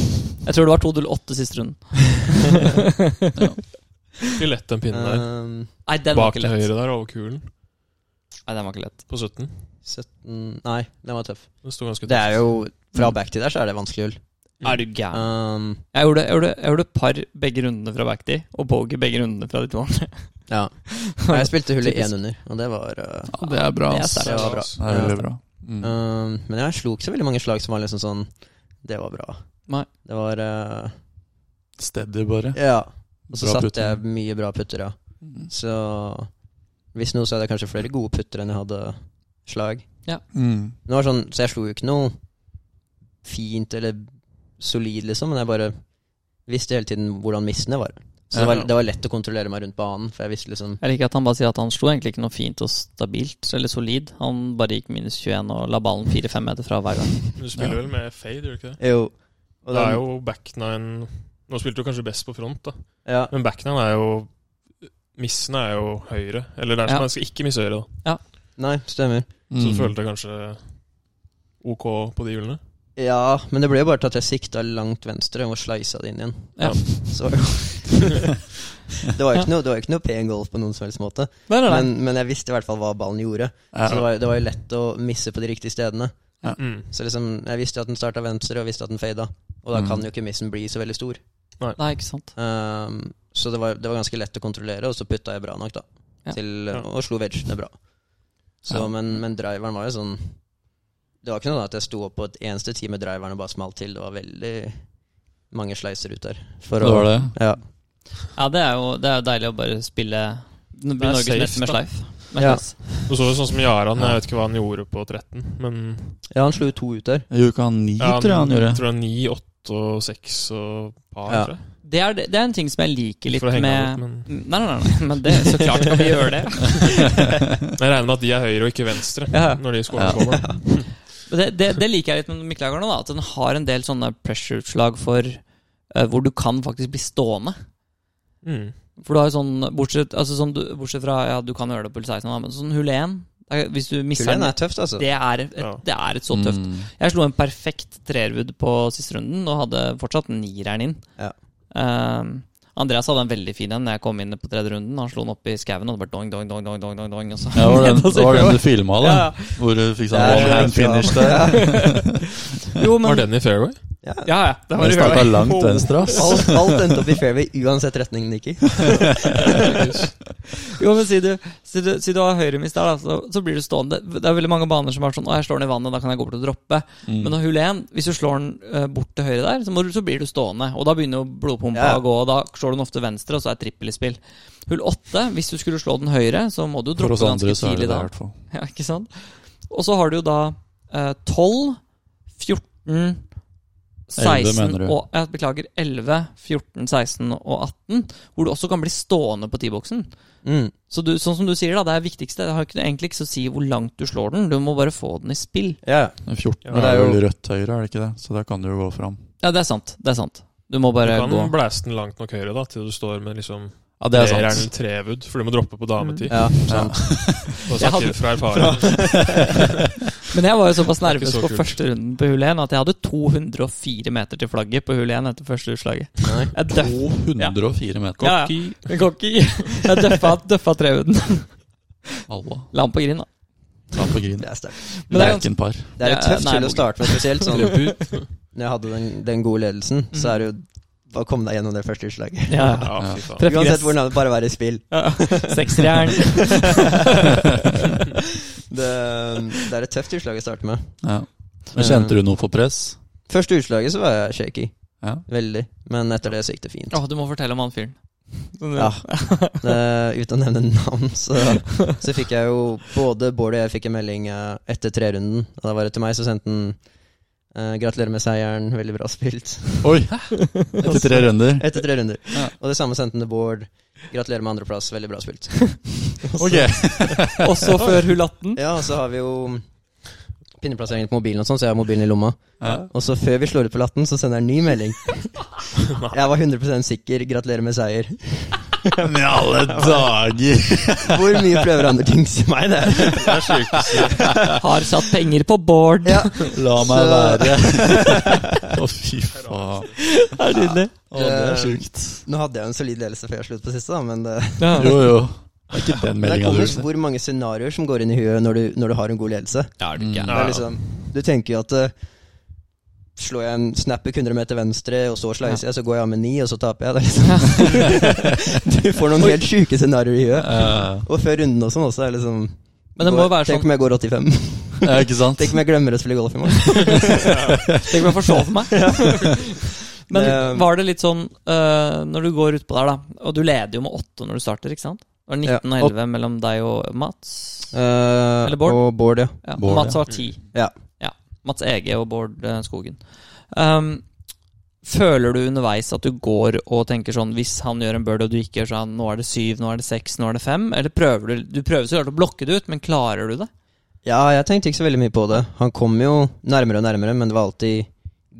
Speaker 1: Jeg tror det var 208 siste runden.
Speaker 4: Ikke lett den pinnen der.
Speaker 3: Ehm,
Speaker 1: Nei, Eh, den var
Speaker 4: Bak
Speaker 1: ikke
Speaker 4: til
Speaker 1: lett.
Speaker 4: høyre der, over kulen,
Speaker 1: Nei, den var ikke lett.
Speaker 4: på 17.
Speaker 3: 17 Nei, den var tøff.
Speaker 4: Den sto ganske
Speaker 3: Det er jo Fra back til der så er det vanskelig hull.
Speaker 4: Mm.
Speaker 1: Er du gæren?
Speaker 3: Ehm,
Speaker 1: Jeg gjorde, jeg, gjorde, jeg gjorde par begge rundene fra backtid, og bogey begge rundene fra de to andre.
Speaker 3: ja. Nei, Jeg spilte hullet
Speaker 1: Typisk.
Speaker 3: én under, og det var eh,
Speaker 2: Ja, det er bra.
Speaker 1: Det er
Speaker 2: ass.
Speaker 1: sterkt.
Speaker 3: Det var bra.
Speaker 2: Det er veldig bra. Mm.
Speaker 3: Ehm, men jeg slo ikke så veldig mange slag som var liksom sånn Det var bra.
Speaker 1: Nei.
Speaker 3: Det var eh,
Speaker 2: Steady, bare.
Speaker 3: Ja. Og så
Speaker 2: Bra
Speaker 3: satte
Speaker 2: putter.
Speaker 3: jeg mye bra putter, ja.
Speaker 2: Mm.
Speaker 3: Så hvis noe, så hadde jeg kanskje flere gode putter enn jeg hadde slag.
Speaker 2: Mm.
Speaker 3: Men det var sånn, så jeg slo jo ikke noe fint eller solid, liksom, men jeg bare visste hele tiden hvordan missene var. Så det var,
Speaker 2: Ja.
Speaker 3: det var lett å kontrollere meg rundt banen, for jeg visste liksom
Speaker 1: Jeg liker at han bare sier at han slo egentlig ikke noe fint og stabilt eller solid. Han bare gikk minus 21 og la ballen 4-5 meter fra hver gang.
Speaker 4: Men Du spiller vel med fade, gjør du ikke det?
Speaker 3: Jo. Og
Speaker 4: Det
Speaker 3: den-
Speaker 4: er jo backnine Nå spilte du kanskje best på front, da.
Speaker 3: ja.
Speaker 4: Men backnine er jo Missen er jo høyre. Eller det er som
Speaker 1: Ja.
Speaker 4: man skal ikke misse høyre, da.
Speaker 3: Nei, stemmer.
Speaker 4: Så du
Speaker 2: Mm.
Speaker 4: følte kanskje OK på de hjulene?
Speaker 3: Ja, men det ble jo bare til at jeg sikta langt venstre og sleisa det inn igjen.
Speaker 1: Ja.
Speaker 3: Så var jo Det var jo ikke noe, det var jo ikke noe pen golf på noen som helst måte,
Speaker 1: Nei, nei, nei.
Speaker 3: men, men jeg visste i hvert fall hva ballen gjorde. Så det
Speaker 2: Ja.
Speaker 3: var, det var jo lett å misse på de riktige stedene.
Speaker 4: Mm.
Speaker 3: Så liksom, jeg visste jo at den starta venstre, og visste at den fada. Og da
Speaker 2: Mm.
Speaker 3: kan jo ikke missen bli så veldig stor.
Speaker 1: nei, ikke sant.
Speaker 3: Ehm, så det var, det var ganske lett å kontrollere, og så putta jeg bra nok, da.
Speaker 1: Ja.
Speaker 3: Til,
Speaker 4: Ja.
Speaker 3: og slo vegene bra. Så,
Speaker 2: Ja.
Speaker 3: men, men driveren var jo sånn Det var ikke noe sånn at jeg sto opp på et eneste tid med driveren og bare smalt til. Det var veldig mange sleiser ut der. For
Speaker 2: Det var det.
Speaker 3: Ja.
Speaker 1: Ja, det er jo, det er jo deilig å bare spille Nå blir
Speaker 4: Det er
Speaker 1: Norges
Speaker 4: safe,
Speaker 1: neste med
Speaker 4: da.
Speaker 1: sleif. Med
Speaker 3: Ja.
Speaker 1: sleif.
Speaker 4: Du så jo sånn som Jaran, jeg vet ikke hva han gjorde på 13, men
Speaker 3: ja, han slo jo to ut der.
Speaker 2: I uka ni, tror jeg han gjorde.
Speaker 4: tror det er 9, 8 og 6 og par,
Speaker 3: Ja.
Speaker 4: tror jeg.
Speaker 1: Det, er, det er en ting som jeg liker litt
Speaker 4: For å henge han
Speaker 1: med
Speaker 4: ut,
Speaker 1: Nei,
Speaker 4: men
Speaker 1: nei, nei, nei, men det, så klart kan vi gjøre det.
Speaker 4: Men jeg regner med at de er høyre og ikke venstre
Speaker 1: Ja.
Speaker 4: når de scorer
Speaker 2: Ja.
Speaker 4: på mål.
Speaker 1: Men Det, det, det liker jeg litt med Mikkelager nå, da, at den har en del sånne pressure-utslag for eh, hvor du kan faktisk bli stående.
Speaker 4: Mm.
Speaker 1: For du har jo sånn, bortsett, altså sånn du, bortsett fra Ja, du kan gjøre det på hull 16, da, men sånn hull 1 eh, Hvis du mister
Speaker 3: Kullen
Speaker 1: den,
Speaker 3: er tøft, altså.
Speaker 1: det er, et,
Speaker 4: Ja.
Speaker 1: det er et så tøft
Speaker 2: Mm.
Speaker 1: Jeg slo en perfekt treerwood på siste runden og hadde fortsatt nireren inn.
Speaker 3: Ja.
Speaker 1: Ehm, Andreas hadde en veldig fin en da jeg kom inn på tredje runden. Han slo den opp i skauen, og det bare dong, dong, dong, dong, dong, dong, dong og så
Speaker 2: Ja, det var den,
Speaker 1: ned og
Speaker 2: det var
Speaker 1: syklet.
Speaker 2: den du filma, da?
Speaker 1: Ja,
Speaker 2: Hvor du fikk
Speaker 3: Det er-
Speaker 2: sånn one hand finish der?
Speaker 1: ja. Jo, men
Speaker 4: Var den i fairway?
Speaker 3: Ja.
Speaker 1: Ja, ja. Det var
Speaker 2: Den
Speaker 1: det jo.
Speaker 2: starta langt venstre, ass.
Speaker 3: Alt, alt endte opp i fairway uansett retning den gikk i.
Speaker 1: Jo, men si du, si du, si du har høyremist der, da, så, så blir du stående. Det er veldig mange baner som er sånn Å, jeg slår den i vannet, da kan jeg gå bort og droppe.
Speaker 2: Mm.
Speaker 1: Men når hull 1, hvis du slår den eh, bort til høyre der, så, må du, så blir du stående. Og da begynner jo blodpumpa
Speaker 3: Ja.
Speaker 1: å gå, og da slår du den ofte venstre, og så er trippel i spill. Hull 8, hvis du skulle slå den høyre, så må du jo
Speaker 2: For
Speaker 1: droppe
Speaker 2: oss andre
Speaker 1: ganske
Speaker 2: så er det
Speaker 1: tidlig
Speaker 2: det, i
Speaker 1: da.
Speaker 2: hvert fall.
Speaker 1: Ja, ikke sant? Og så har du jo da eh, 12, 14, 16
Speaker 2: mener du.
Speaker 1: og jeg Beklager, 11, 14, 16 og 18, hvor du også kan bli stående på T-boksen.
Speaker 3: Mm.
Speaker 1: Så du, sånn som du sier, da, det er viktigste. Det har ikke, egentlig ikke så å si hvor langt du slår den, du må bare få den i spill.
Speaker 3: Ja.
Speaker 2: Den 14
Speaker 4: Ja, det
Speaker 3: er
Speaker 2: er
Speaker 3: jo-
Speaker 2: vel rødt høyre, er det ikke det? Så der kan du jo gå fram.
Speaker 1: Ja, det er sant. Det er sant. Du må
Speaker 4: Du
Speaker 1: bare
Speaker 4: kan
Speaker 1: gå.
Speaker 4: blæse den langt nok høyre da, til du står med liksom
Speaker 2: Ja, det er
Speaker 4: treeren
Speaker 2: sant.
Speaker 4: eller trevud, for du må droppe på dametid.
Speaker 3: ja.
Speaker 4: Og snakker
Speaker 1: Mm. hadde-
Speaker 4: fra erfaring.
Speaker 1: Men jeg var jo såpass nervøs
Speaker 4: så
Speaker 1: på
Speaker 4: kult.
Speaker 1: første runden på hull 1 at jeg hadde 204 meter til flagget på hull 1 etter første utslaget.
Speaker 3: Nei.
Speaker 1: Jeg døff,
Speaker 2: 204 meter.
Speaker 1: Ja,
Speaker 4: Cocky.
Speaker 1: Cocky. Jeg døffa, døffa trehuden.
Speaker 2: Allah.
Speaker 1: La den på grind, da.
Speaker 2: Ta på grin.
Speaker 3: Det er sterkt.
Speaker 1: Men det er
Speaker 2: Lerken par.
Speaker 3: Det er et
Speaker 1: Ja,
Speaker 3: tøft
Speaker 1: nei,
Speaker 3: hull å
Speaker 1: Mogen.
Speaker 3: starte med, spesielt sånn
Speaker 4: Løp ut.
Speaker 3: når jeg hadde den, den gode ledelsen, så er det jo bare å komme deg gjennom det første utslaget.
Speaker 1: Ja, ja.
Speaker 4: Ja, fy faen.
Speaker 1: Treff
Speaker 3: Uansett
Speaker 1: gress.
Speaker 3: hvordan det bare være i spill.
Speaker 1: Ja, Sekserjern.
Speaker 3: Det, um, det er et tøft utslag å starte med. Um,
Speaker 2: Ja. Men kjente du noe på press?
Speaker 3: Første utslaget så var jeg shaky.
Speaker 2: Ja.
Speaker 3: Veldig. Men etter det så gikk det fint.
Speaker 1: Å, du må fortelle om han fyren.
Speaker 3: Ja. Eh, uten å nevne navn, så, så fikk jeg jo Både Bård og jeg fikk en melding eh, etter trerunden. Og da var det til meg, så sendte han eh, 'Gratulerer med seieren, veldig bra spilt'.
Speaker 2: Oi! Etter tre runder.
Speaker 3: Etter tre runder.
Speaker 2: Ja.
Speaker 3: Og det samme sendte han til Bård. 'Gratulerer med andreplass, veldig bra spilt'.
Speaker 2: Ok.
Speaker 1: Også før hull 18.
Speaker 3: Ja, og så har vi jo pinneplasseringen på mobilen, og sånn, så jeg har mobilen i lomma.
Speaker 2: Ja.
Speaker 3: Og så før vi slår ut på latten, så sender jeg en ny melding. Jeg var 100 sikker. Gratulerer med seier.
Speaker 2: Men i alle dager!
Speaker 3: Hvor mye prøver andre ting til meg, det? er-
Speaker 4: Det er sjukt.
Speaker 1: Har satt penger på Bård.
Speaker 3: Ja.
Speaker 2: La meg
Speaker 3: Så-
Speaker 2: være. Å, fy faen.
Speaker 1: Det er nydelig.
Speaker 2: Å, det er sjukt.
Speaker 3: Nå hadde jeg jo en solid ledelse før jeg slo ut på siste, da, men det,
Speaker 1: Ja.
Speaker 2: Jo, jo. Det er ikke den
Speaker 3: det
Speaker 2: meldinga du
Speaker 3: kommer
Speaker 2: vil se.
Speaker 3: hvor mange scenarioer som går inn i huet når du, når du har en god ledelse.
Speaker 1: Ja,
Speaker 2: du gæren?
Speaker 3: Det er liksom, du tenker jo at eh, Slår jeg en snapper 100 meter venstre, og så slicer jeg, så går jeg av med ni, og så taper jeg. Det er liksom. Du får noen helt sjuke scenarioer i huet.
Speaker 2: Eh,
Speaker 3: Og før runden og sånn også er liksom
Speaker 1: Men det må jo
Speaker 3: går-
Speaker 1: være
Speaker 3: Tenk
Speaker 1: sånn-
Speaker 3: om jeg går 85.
Speaker 2: Ja, ikke sant?
Speaker 3: Tenk om jeg glemmer å spille golf i morgen.
Speaker 1: Tenk om jeg forsov meg. Men
Speaker 3: Det-
Speaker 1: var det litt sånn øh, når du går utpå der, da Og du leder jo med åtte når du starter, ikke sant? Det var 19
Speaker 3: Ja,
Speaker 1: og
Speaker 3: opp.
Speaker 1: 11 mellom deg og Mats. Eller
Speaker 3: Eller
Speaker 1: Bård.
Speaker 3: Og Bård, ja.
Speaker 1: Eh, Ja,
Speaker 2: Bård,
Speaker 1: Mats
Speaker 2: ja.
Speaker 1: var 10.
Speaker 3: Ja.
Speaker 1: Mats Ege og Bård eh, Skogen. Um, føler du underveis at du går og tenker sånn Hvis han gjør en bird og du ikke gjør sånn, nå er det syv, nå er det seks, nå er det fem? Eller prøver du Du prøver så klart å blokke det ut, men klarer du det?
Speaker 3: Ja, jeg tenkte ikke så veldig mye på det. Han kom jo nærmere og nærmere, men det var alltid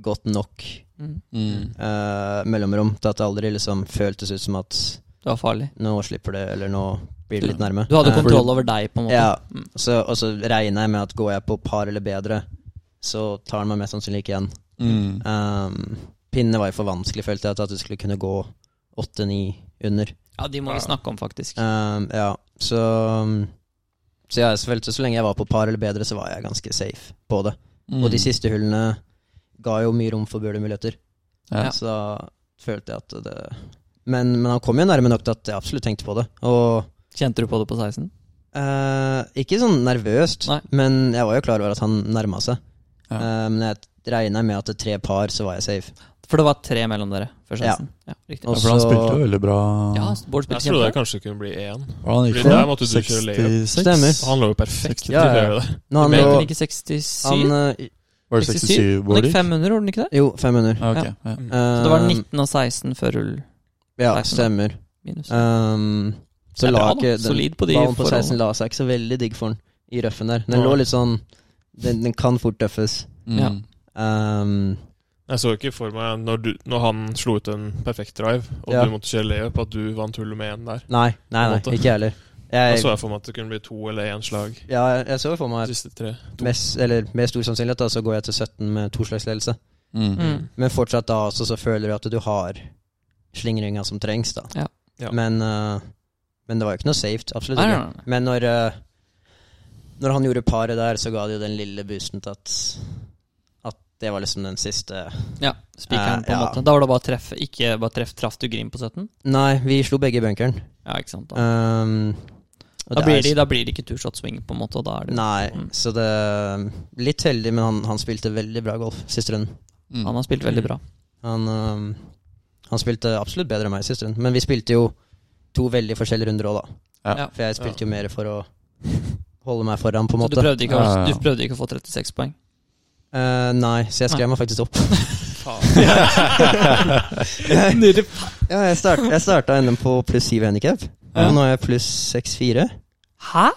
Speaker 3: godt nok
Speaker 2: Mm.
Speaker 3: eh, mellomrom til at det aldri liksom føltes ut som at
Speaker 1: Det var farlig.
Speaker 3: nå slipper det, eller nå blir det litt nærme.
Speaker 1: Du hadde
Speaker 3: Eh,
Speaker 1: kontroll over deg, på en måte.
Speaker 3: Ja,
Speaker 1: Mm.
Speaker 3: så, og så regner jeg med at går jeg på par eller bedre, så tar han meg mest sannsynlig ikke igjen.
Speaker 2: Mm.
Speaker 3: Um, pinnene var jo for vanskelig, følte jeg, til at det skulle kunne gå åtte-ni under.
Speaker 1: Ja, de må vi
Speaker 4: Ja.
Speaker 1: snakke om, faktisk.
Speaker 3: Um, ja, så um, Så jeg følte så lenge jeg var på par eller bedre, så var jeg ganske safe på det.
Speaker 2: Mm.
Speaker 3: Og de siste hullene ga jo mye rom for burdemuligheter,
Speaker 2: Ja.
Speaker 3: så da følte jeg at det men, men han kom jo nærme nok til at jeg absolutt tenkte på det. Og
Speaker 1: Kjente du på det på 16?
Speaker 3: eh, ikke sånn nervøst,
Speaker 1: Nei.
Speaker 3: men jeg var jo klar over at han nærma seg.
Speaker 2: Ja.
Speaker 3: Eh, men jeg regna med at det tre par, så var jeg safe.
Speaker 1: For det var tre mellom dere før
Speaker 3: Ja.
Speaker 1: 16? Ja, riktig.
Speaker 3: Og-
Speaker 2: Ja, for han
Speaker 3: så-
Speaker 2: spilte jo veldig bra.
Speaker 1: Ja, Bård
Speaker 4: Jeg
Speaker 1: spilte
Speaker 4: trodde det
Speaker 1: kjempebra.
Speaker 4: kanskje kunne bli én.
Speaker 2: Hva han gikk
Speaker 4: Fordi
Speaker 2: for?
Speaker 4: der måte du kjører layup.
Speaker 2: 66?
Speaker 3: Stemmer.
Speaker 4: Han lå jo perfekt til
Speaker 3: Ja, ja, ja.
Speaker 4: å gjøre det.
Speaker 3: Nå han
Speaker 4: Det
Speaker 3: lå
Speaker 1: Gikk den ikke 67?
Speaker 3: han, eh,
Speaker 2: Var det 67
Speaker 1: Var
Speaker 2: hvor
Speaker 1: det
Speaker 2: det
Speaker 1: ikke
Speaker 2: gikk?
Speaker 1: 500, gjorde den ikke det?
Speaker 3: Jo, 500.
Speaker 2: Ja, ok. Ja.
Speaker 1: Så det var
Speaker 3: Um,
Speaker 1: 19 og 16 før rull
Speaker 3: Eh, Ja,
Speaker 1: 16.
Speaker 3: stemmer.
Speaker 1: minus.
Speaker 3: Um, så
Speaker 1: Det er
Speaker 3: la
Speaker 1: bra, da.
Speaker 3: ikke den,
Speaker 1: Solid på de
Speaker 3: ballen på
Speaker 1: forholdene.
Speaker 3: 16 la seg ikke så veldig digg for den i røffen der. Den
Speaker 4: Nei.
Speaker 3: lå litt sånn Den, den kan fort tøffes.
Speaker 2: Mm.
Speaker 1: Ja.
Speaker 3: Um,
Speaker 4: Jeg så ikke for meg, når, du, når han slo ut en perfekt drive, og
Speaker 3: Ja.
Speaker 4: du måtte kjøre layup, at du vant hullet med én der.
Speaker 3: nei, nei, nei,
Speaker 4: På en måte.
Speaker 3: ikke jeg heller.
Speaker 4: Da
Speaker 3: Jeg,
Speaker 4: så jeg for meg at det kunne bli to eller én slag.
Speaker 3: ja, jeg så for meg
Speaker 4: De siste tre.
Speaker 3: at mest, eller med stor sannsynlighet da, så går jeg til 17 med toslagsledelse.
Speaker 2: Mm.
Speaker 1: Mm.
Speaker 3: Men fortsatt da også så føler du at du har slingringa som trengs, da.
Speaker 1: Ja.
Speaker 4: Ja.
Speaker 3: Men, eh, men det var jo ikke noe saved. Absolutt
Speaker 1: Nei,
Speaker 3: ikke.
Speaker 1: nei, nei.
Speaker 3: Men når, eh, når han gjorde paret der, så ga det jo den lille boosten til at At det var liksom den siste
Speaker 1: Ja, spikeren
Speaker 3: Eh,
Speaker 1: på en
Speaker 3: ja.
Speaker 1: måte. Da var det bare treff. Ikke bare treff, traff du Grim på 17?
Speaker 3: Nei, vi slo begge i bunkeren.
Speaker 1: Ja, ikke sant. Da,
Speaker 3: Um,
Speaker 1: da,
Speaker 3: og det
Speaker 1: blir,
Speaker 3: er-
Speaker 1: de, da blir det ikke two shot swing, på en måte. Og da er det
Speaker 3: Nei,
Speaker 1: Mm.
Speaker 3: så det Litt heldig, men han, han spilte veldig bra golf siste runden.
Speaker 1: Mm. Han har spilt veldig bra.
Speaker 3: Han, øhm, han spilte absolutt bedre enn meg siste runde, men vi spilte jo to veldig forskjellige runder òg, da.
Speaker 2: Ja.
Speaker 1: Ja.
Speaker 3: For jeg spilte jo mer for å holde meg foran, på en
Speaker 1: Så du
Speaker 3: måte.
Speaker 1: prøvde, ikke, å-
Speaker 2: Ja, ja, ja.
Speaker 1: du prøvde ikke å få 36 poeng?
Speaker 3: Eh, nei, så jeg skrev meg faktisk opp.
Speaker 1: Nydelig.
Speaker 3: Ja, jeg, start, jeg starta NM på pluss 7 handikap,
Speaker 2: Ja.
Speaker 3: og nå er jeg pluss 6-4.
Speaker 1: Hæ?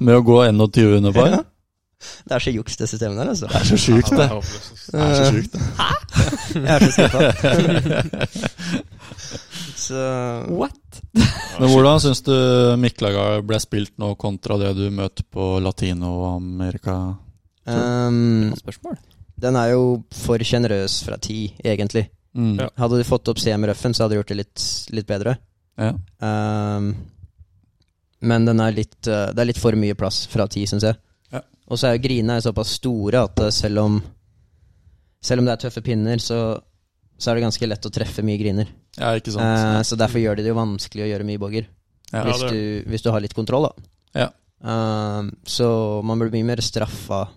Speaker 2: Med å gå 21 under par?
Speaker 3: Ja. Det er så juks, det systemet der, altså. Eh,
Speaker 2: Det er så sjukt,
Speaker 4: Ja,
Speaker 2: det.
Speaker 4: er håpløst, altså.
Speaker 2: Det er så sjukt. det.
Speaker 3: Jeg er så skuffa. så
Speaker 1: What?
Speaker 4: Ah,
Speaker 2: Men hvordan syns du Miklagar ble spilt nå, kontra det du møtte på Latino-Amerika?
Speaker 3: øhm,
Speaker 1: Godt spørsmål.
Speaker 3: ehm, Den er jo for sjenerøs fra ti, egentlig.
Speaker 2: Mm.
Speaker 4: Ja.
Speaker 3: Hadde du fått opp semi-røffen, så hadde du gjort det litt, litt bedre.
Speaker 2: Ja.
Speaker 3: Ehm, men den er litt, eh, det er litt for mye plass fra ti, syns jeg.
Speaker 2: Ja.
Speaker 3: Og så er jo grinene er såpass store at eh, selv om Selv om det er tøffe pinner, så, så er det ganske lett å treffe mye griner.
Speaker 2: ja, ikke
Speaker 3: Eh,
Speaker 2: sant.
Speaker 3: så derfor gjør de det jo vanskelig å gjøre mye bogger,
Speaker 2: Ja.
Speaker 4: Ja,
Speaker 3: hvis,
Speaker 4: det-
Speaker 3: du, hvis du har litt kontroll, da.
Speaker 2: Ja.
Speaker 3: Ehm, så man blir mye mer straffa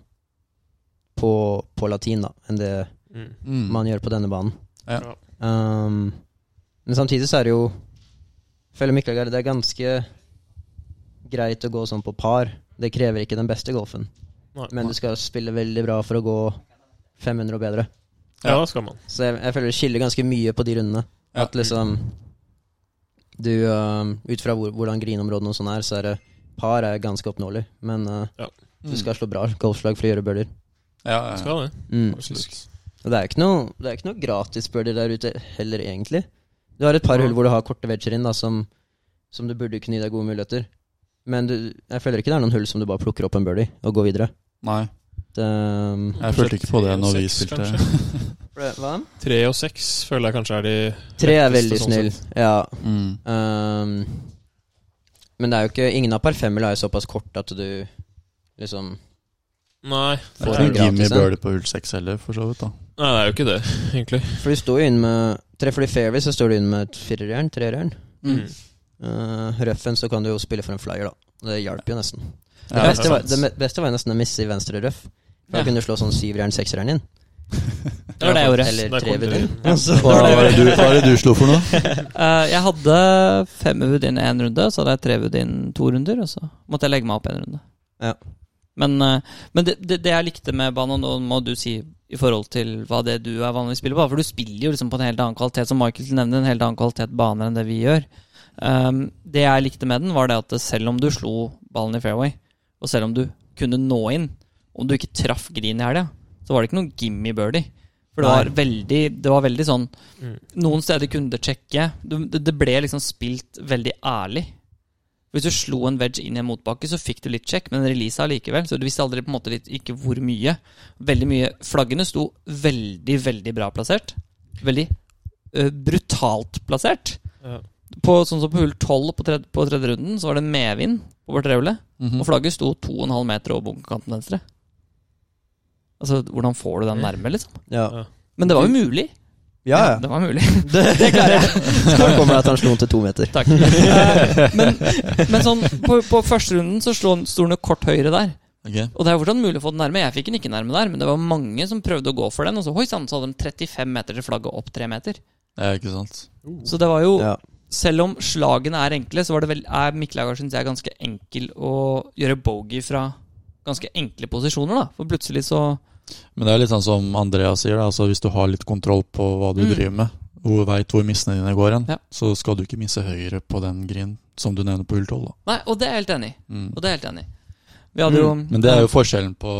Speaker 3: på, på latin da enn det
Speaker 4: Mm.
Speaker 2: Mm.
Speaker 3: man gjør på denne banen.
Speaker 2: Ja.
Speaker 4: Ja.
Speaker 3: Um, men samtidig så er det jo Følger Miklagard, det er ganske greit å gå sånn på par. Det krever ikke den beste golfen,
Speaker 4: Nei.
Speaker 3: men du skal spille veldig bra for å gå 500 og bedre.
Speaker 4: Ja, det skal man.
Speaker 3: Så jeg, jeg føler det skiller ganske mye på de rundene.
Speaker 2: Ja.
Speaker 3: At liksom Du um, Ut fra hvor, hvordan grinområdene og sånn er, så er det par er ganske oppnåelig. Men uh,
Speaker 4: Mm.
Speaker 3: du skal slå bra golfslag for å gjøre birdier.
Speaker 2: Mm. Ja,
Speaker 4: Det
Speaker 2: ja.
Speaker 4: skal det.
Speaker 3: Mm.
Speaker 4: Absolutt.
Speaker 3: Og det er ikke noe, det er ikke noe gratis birdie der ute heller, egentlig. Du har et par
Speaker 4: Ja.
Speaker 3: hull hvor du har korte wedger inn, da, som, som du burde kunne gi deg gode muligheter. Men du, jeg føler ikke det er noen hull som du bare plukker opp en birdie og går videre.
Speaker 2: Nei,
Speaker 3: Det, um,
Speaker 2: jeg følte ikke på det når vi
Speaker 4: Seks,
Speaker 2: spilte.
Speaker 4: kanskje.
Speaker 3: hva?
Speaker 4: Tre og seks føler jeg kanskje er de
Speaker 3: Tre er
Speaker 4: Letteste
Speaker 3: veldig
Speaker 4: sånn
Speaker 3: snill. Ja.
Speaker 2: Mm.
Speaker 3: ehm, men det er jo ikke Ingen av par femmere er jo såpass kort at du liksom
Speaker 4: Nei,
Speaker 2: Det er
Speaker 3: Får en
Speaker 2: ikke noen
Speaker 3: gratis,
Speaker 2: Jimmy
Speaker 3: ja.
Speaker 2: Bøhler på hull 6 heller, for så vidt. da.
Speaker 4: Nei, det er jo ikke det, egentlig.
Speaker 3: For du står jo inn med Treffer du fairway, så står du inn med et firerjern, trerjern.
Speaker 4: Mm.
Speaker 3: Uh, røffen, så kan du jo spille for en flyer, da. Det hjalp jo nesten. Det,
Speaker 2: Ja,
Speaker 3: beste, var,
Speaker 2: sant.
Speaker 3: det me- beste var jo nesten å misse i venstre røff. Da
Speaker 1: Ja.
Speaker 3: kunne du slå sånn syvjern, seksjern inn.
Speaker 1: Det var det jeg gjorde.
Speaker 3: Eller
Speaker 4: Der kom
Speaker 3: tre
Speaker 4: det.
Speaker 3: ved
Speaker 4: Ja.
Speaker 3: Altså,
Speaker 2: Hva var det du, hva var det du slo for noe?
Speaker 1: Eh, jeg hadde fem wood inn én runde, så hadde jeg tre wood inn to runder, og så måtte jeg legge meg opp en runde.
Speaker 3: Ja.
Speaker 1: Men, eh, men det, det, det jeg likte med banen, og nå må du si i forhold til hva det du er vanlig spiller på, for du spiller jo liksom på en helt annen kvalitet, som Michael nevner, en helt annen kvalitet baner enn det vi gjør. Um, det jeg likte med den, var det at selv om du slo ballen i fairway, og selv om du kunne nå inn, om du ikke traff green i helga, så var det ikke noen gimme birdie. For det var, veldig, det var veldig sånn
Speaker 4: Mm.
Speaker 1: Noen steder kunne det sjekke. Du, det, det ble liksom spilt veldig ærlig. Hvis du slo en wedge inn i en motbakke, så fikk du litt sjekk, men releasa allikevel. Så du visste aldri på en måte litt, ikke hvor mye. Veldig mye Flaggene sto veldig, veldig bra plassert. Veldig ø, brutalt plassert.
Speaker 4: Ja.
Speaker 1: På, sånn som på hull 12 på tredje, på tredje runden, så var det medvind over trehjulet. Og
Speaker 3: Mm.
Speaker 2: Mhm.
Speaker 1: flagget sto 2,5 meter over bunkerkanten venstre. Altså, hvordan får du den nærme, liksom?
Speaker 3: ja.
Speaker 1: Men det var jo mulig.
Speaker 3: ja, ja.
Speaker 1: Det var mulig.
Speaker 3: Det, klarer jeg. Snart kommer det at han slo den til to meter.
Speaker 1: Takk. Eh, men, men sånn, på, på første runden så slo han- sto den jo kort høyre der.
Speaker 2: Ok.
Speaker 1: Og det er fortsatt mulig å få den nærme. Jeg fikk den ikke nærme der, men det var mange som prøvde å gå for den. Og så hoi sann, så hadde de 35 meter til flagget opp 3 meter.
Speaker 2: Ja, ikke sant.
Speaker 1: Så det var jo
Speaker 3: Ja.
Speaker 1: Selv om slagene er enkle, så var det vel, er Mikkelager synes jeg ganske enkel å gjøre bogey fra ganske enkle posisjoner, da. For plutselig så
Speaker 2: Men det er litt sånn som Andreas sier, da. Altså, hvis du har litt kontroll på hva du
Speaker 1: Mm.
Speaker 2: driver med, hvor veit hvor missene dine går hen,
Speaker 1: Ja.
Speaker 2: så skal du ikke misse høyre på den grinen som du nevner på hull 12. Da.
Speaker 1: Nei, og det er jeg helt enig i.
Speaker 2: Mm.
Speaker 1: Og det er jeg helt enig i. Vi hadde jo
Speaker 3: Mm.
Speaker 2: Men det er jo forskjellen på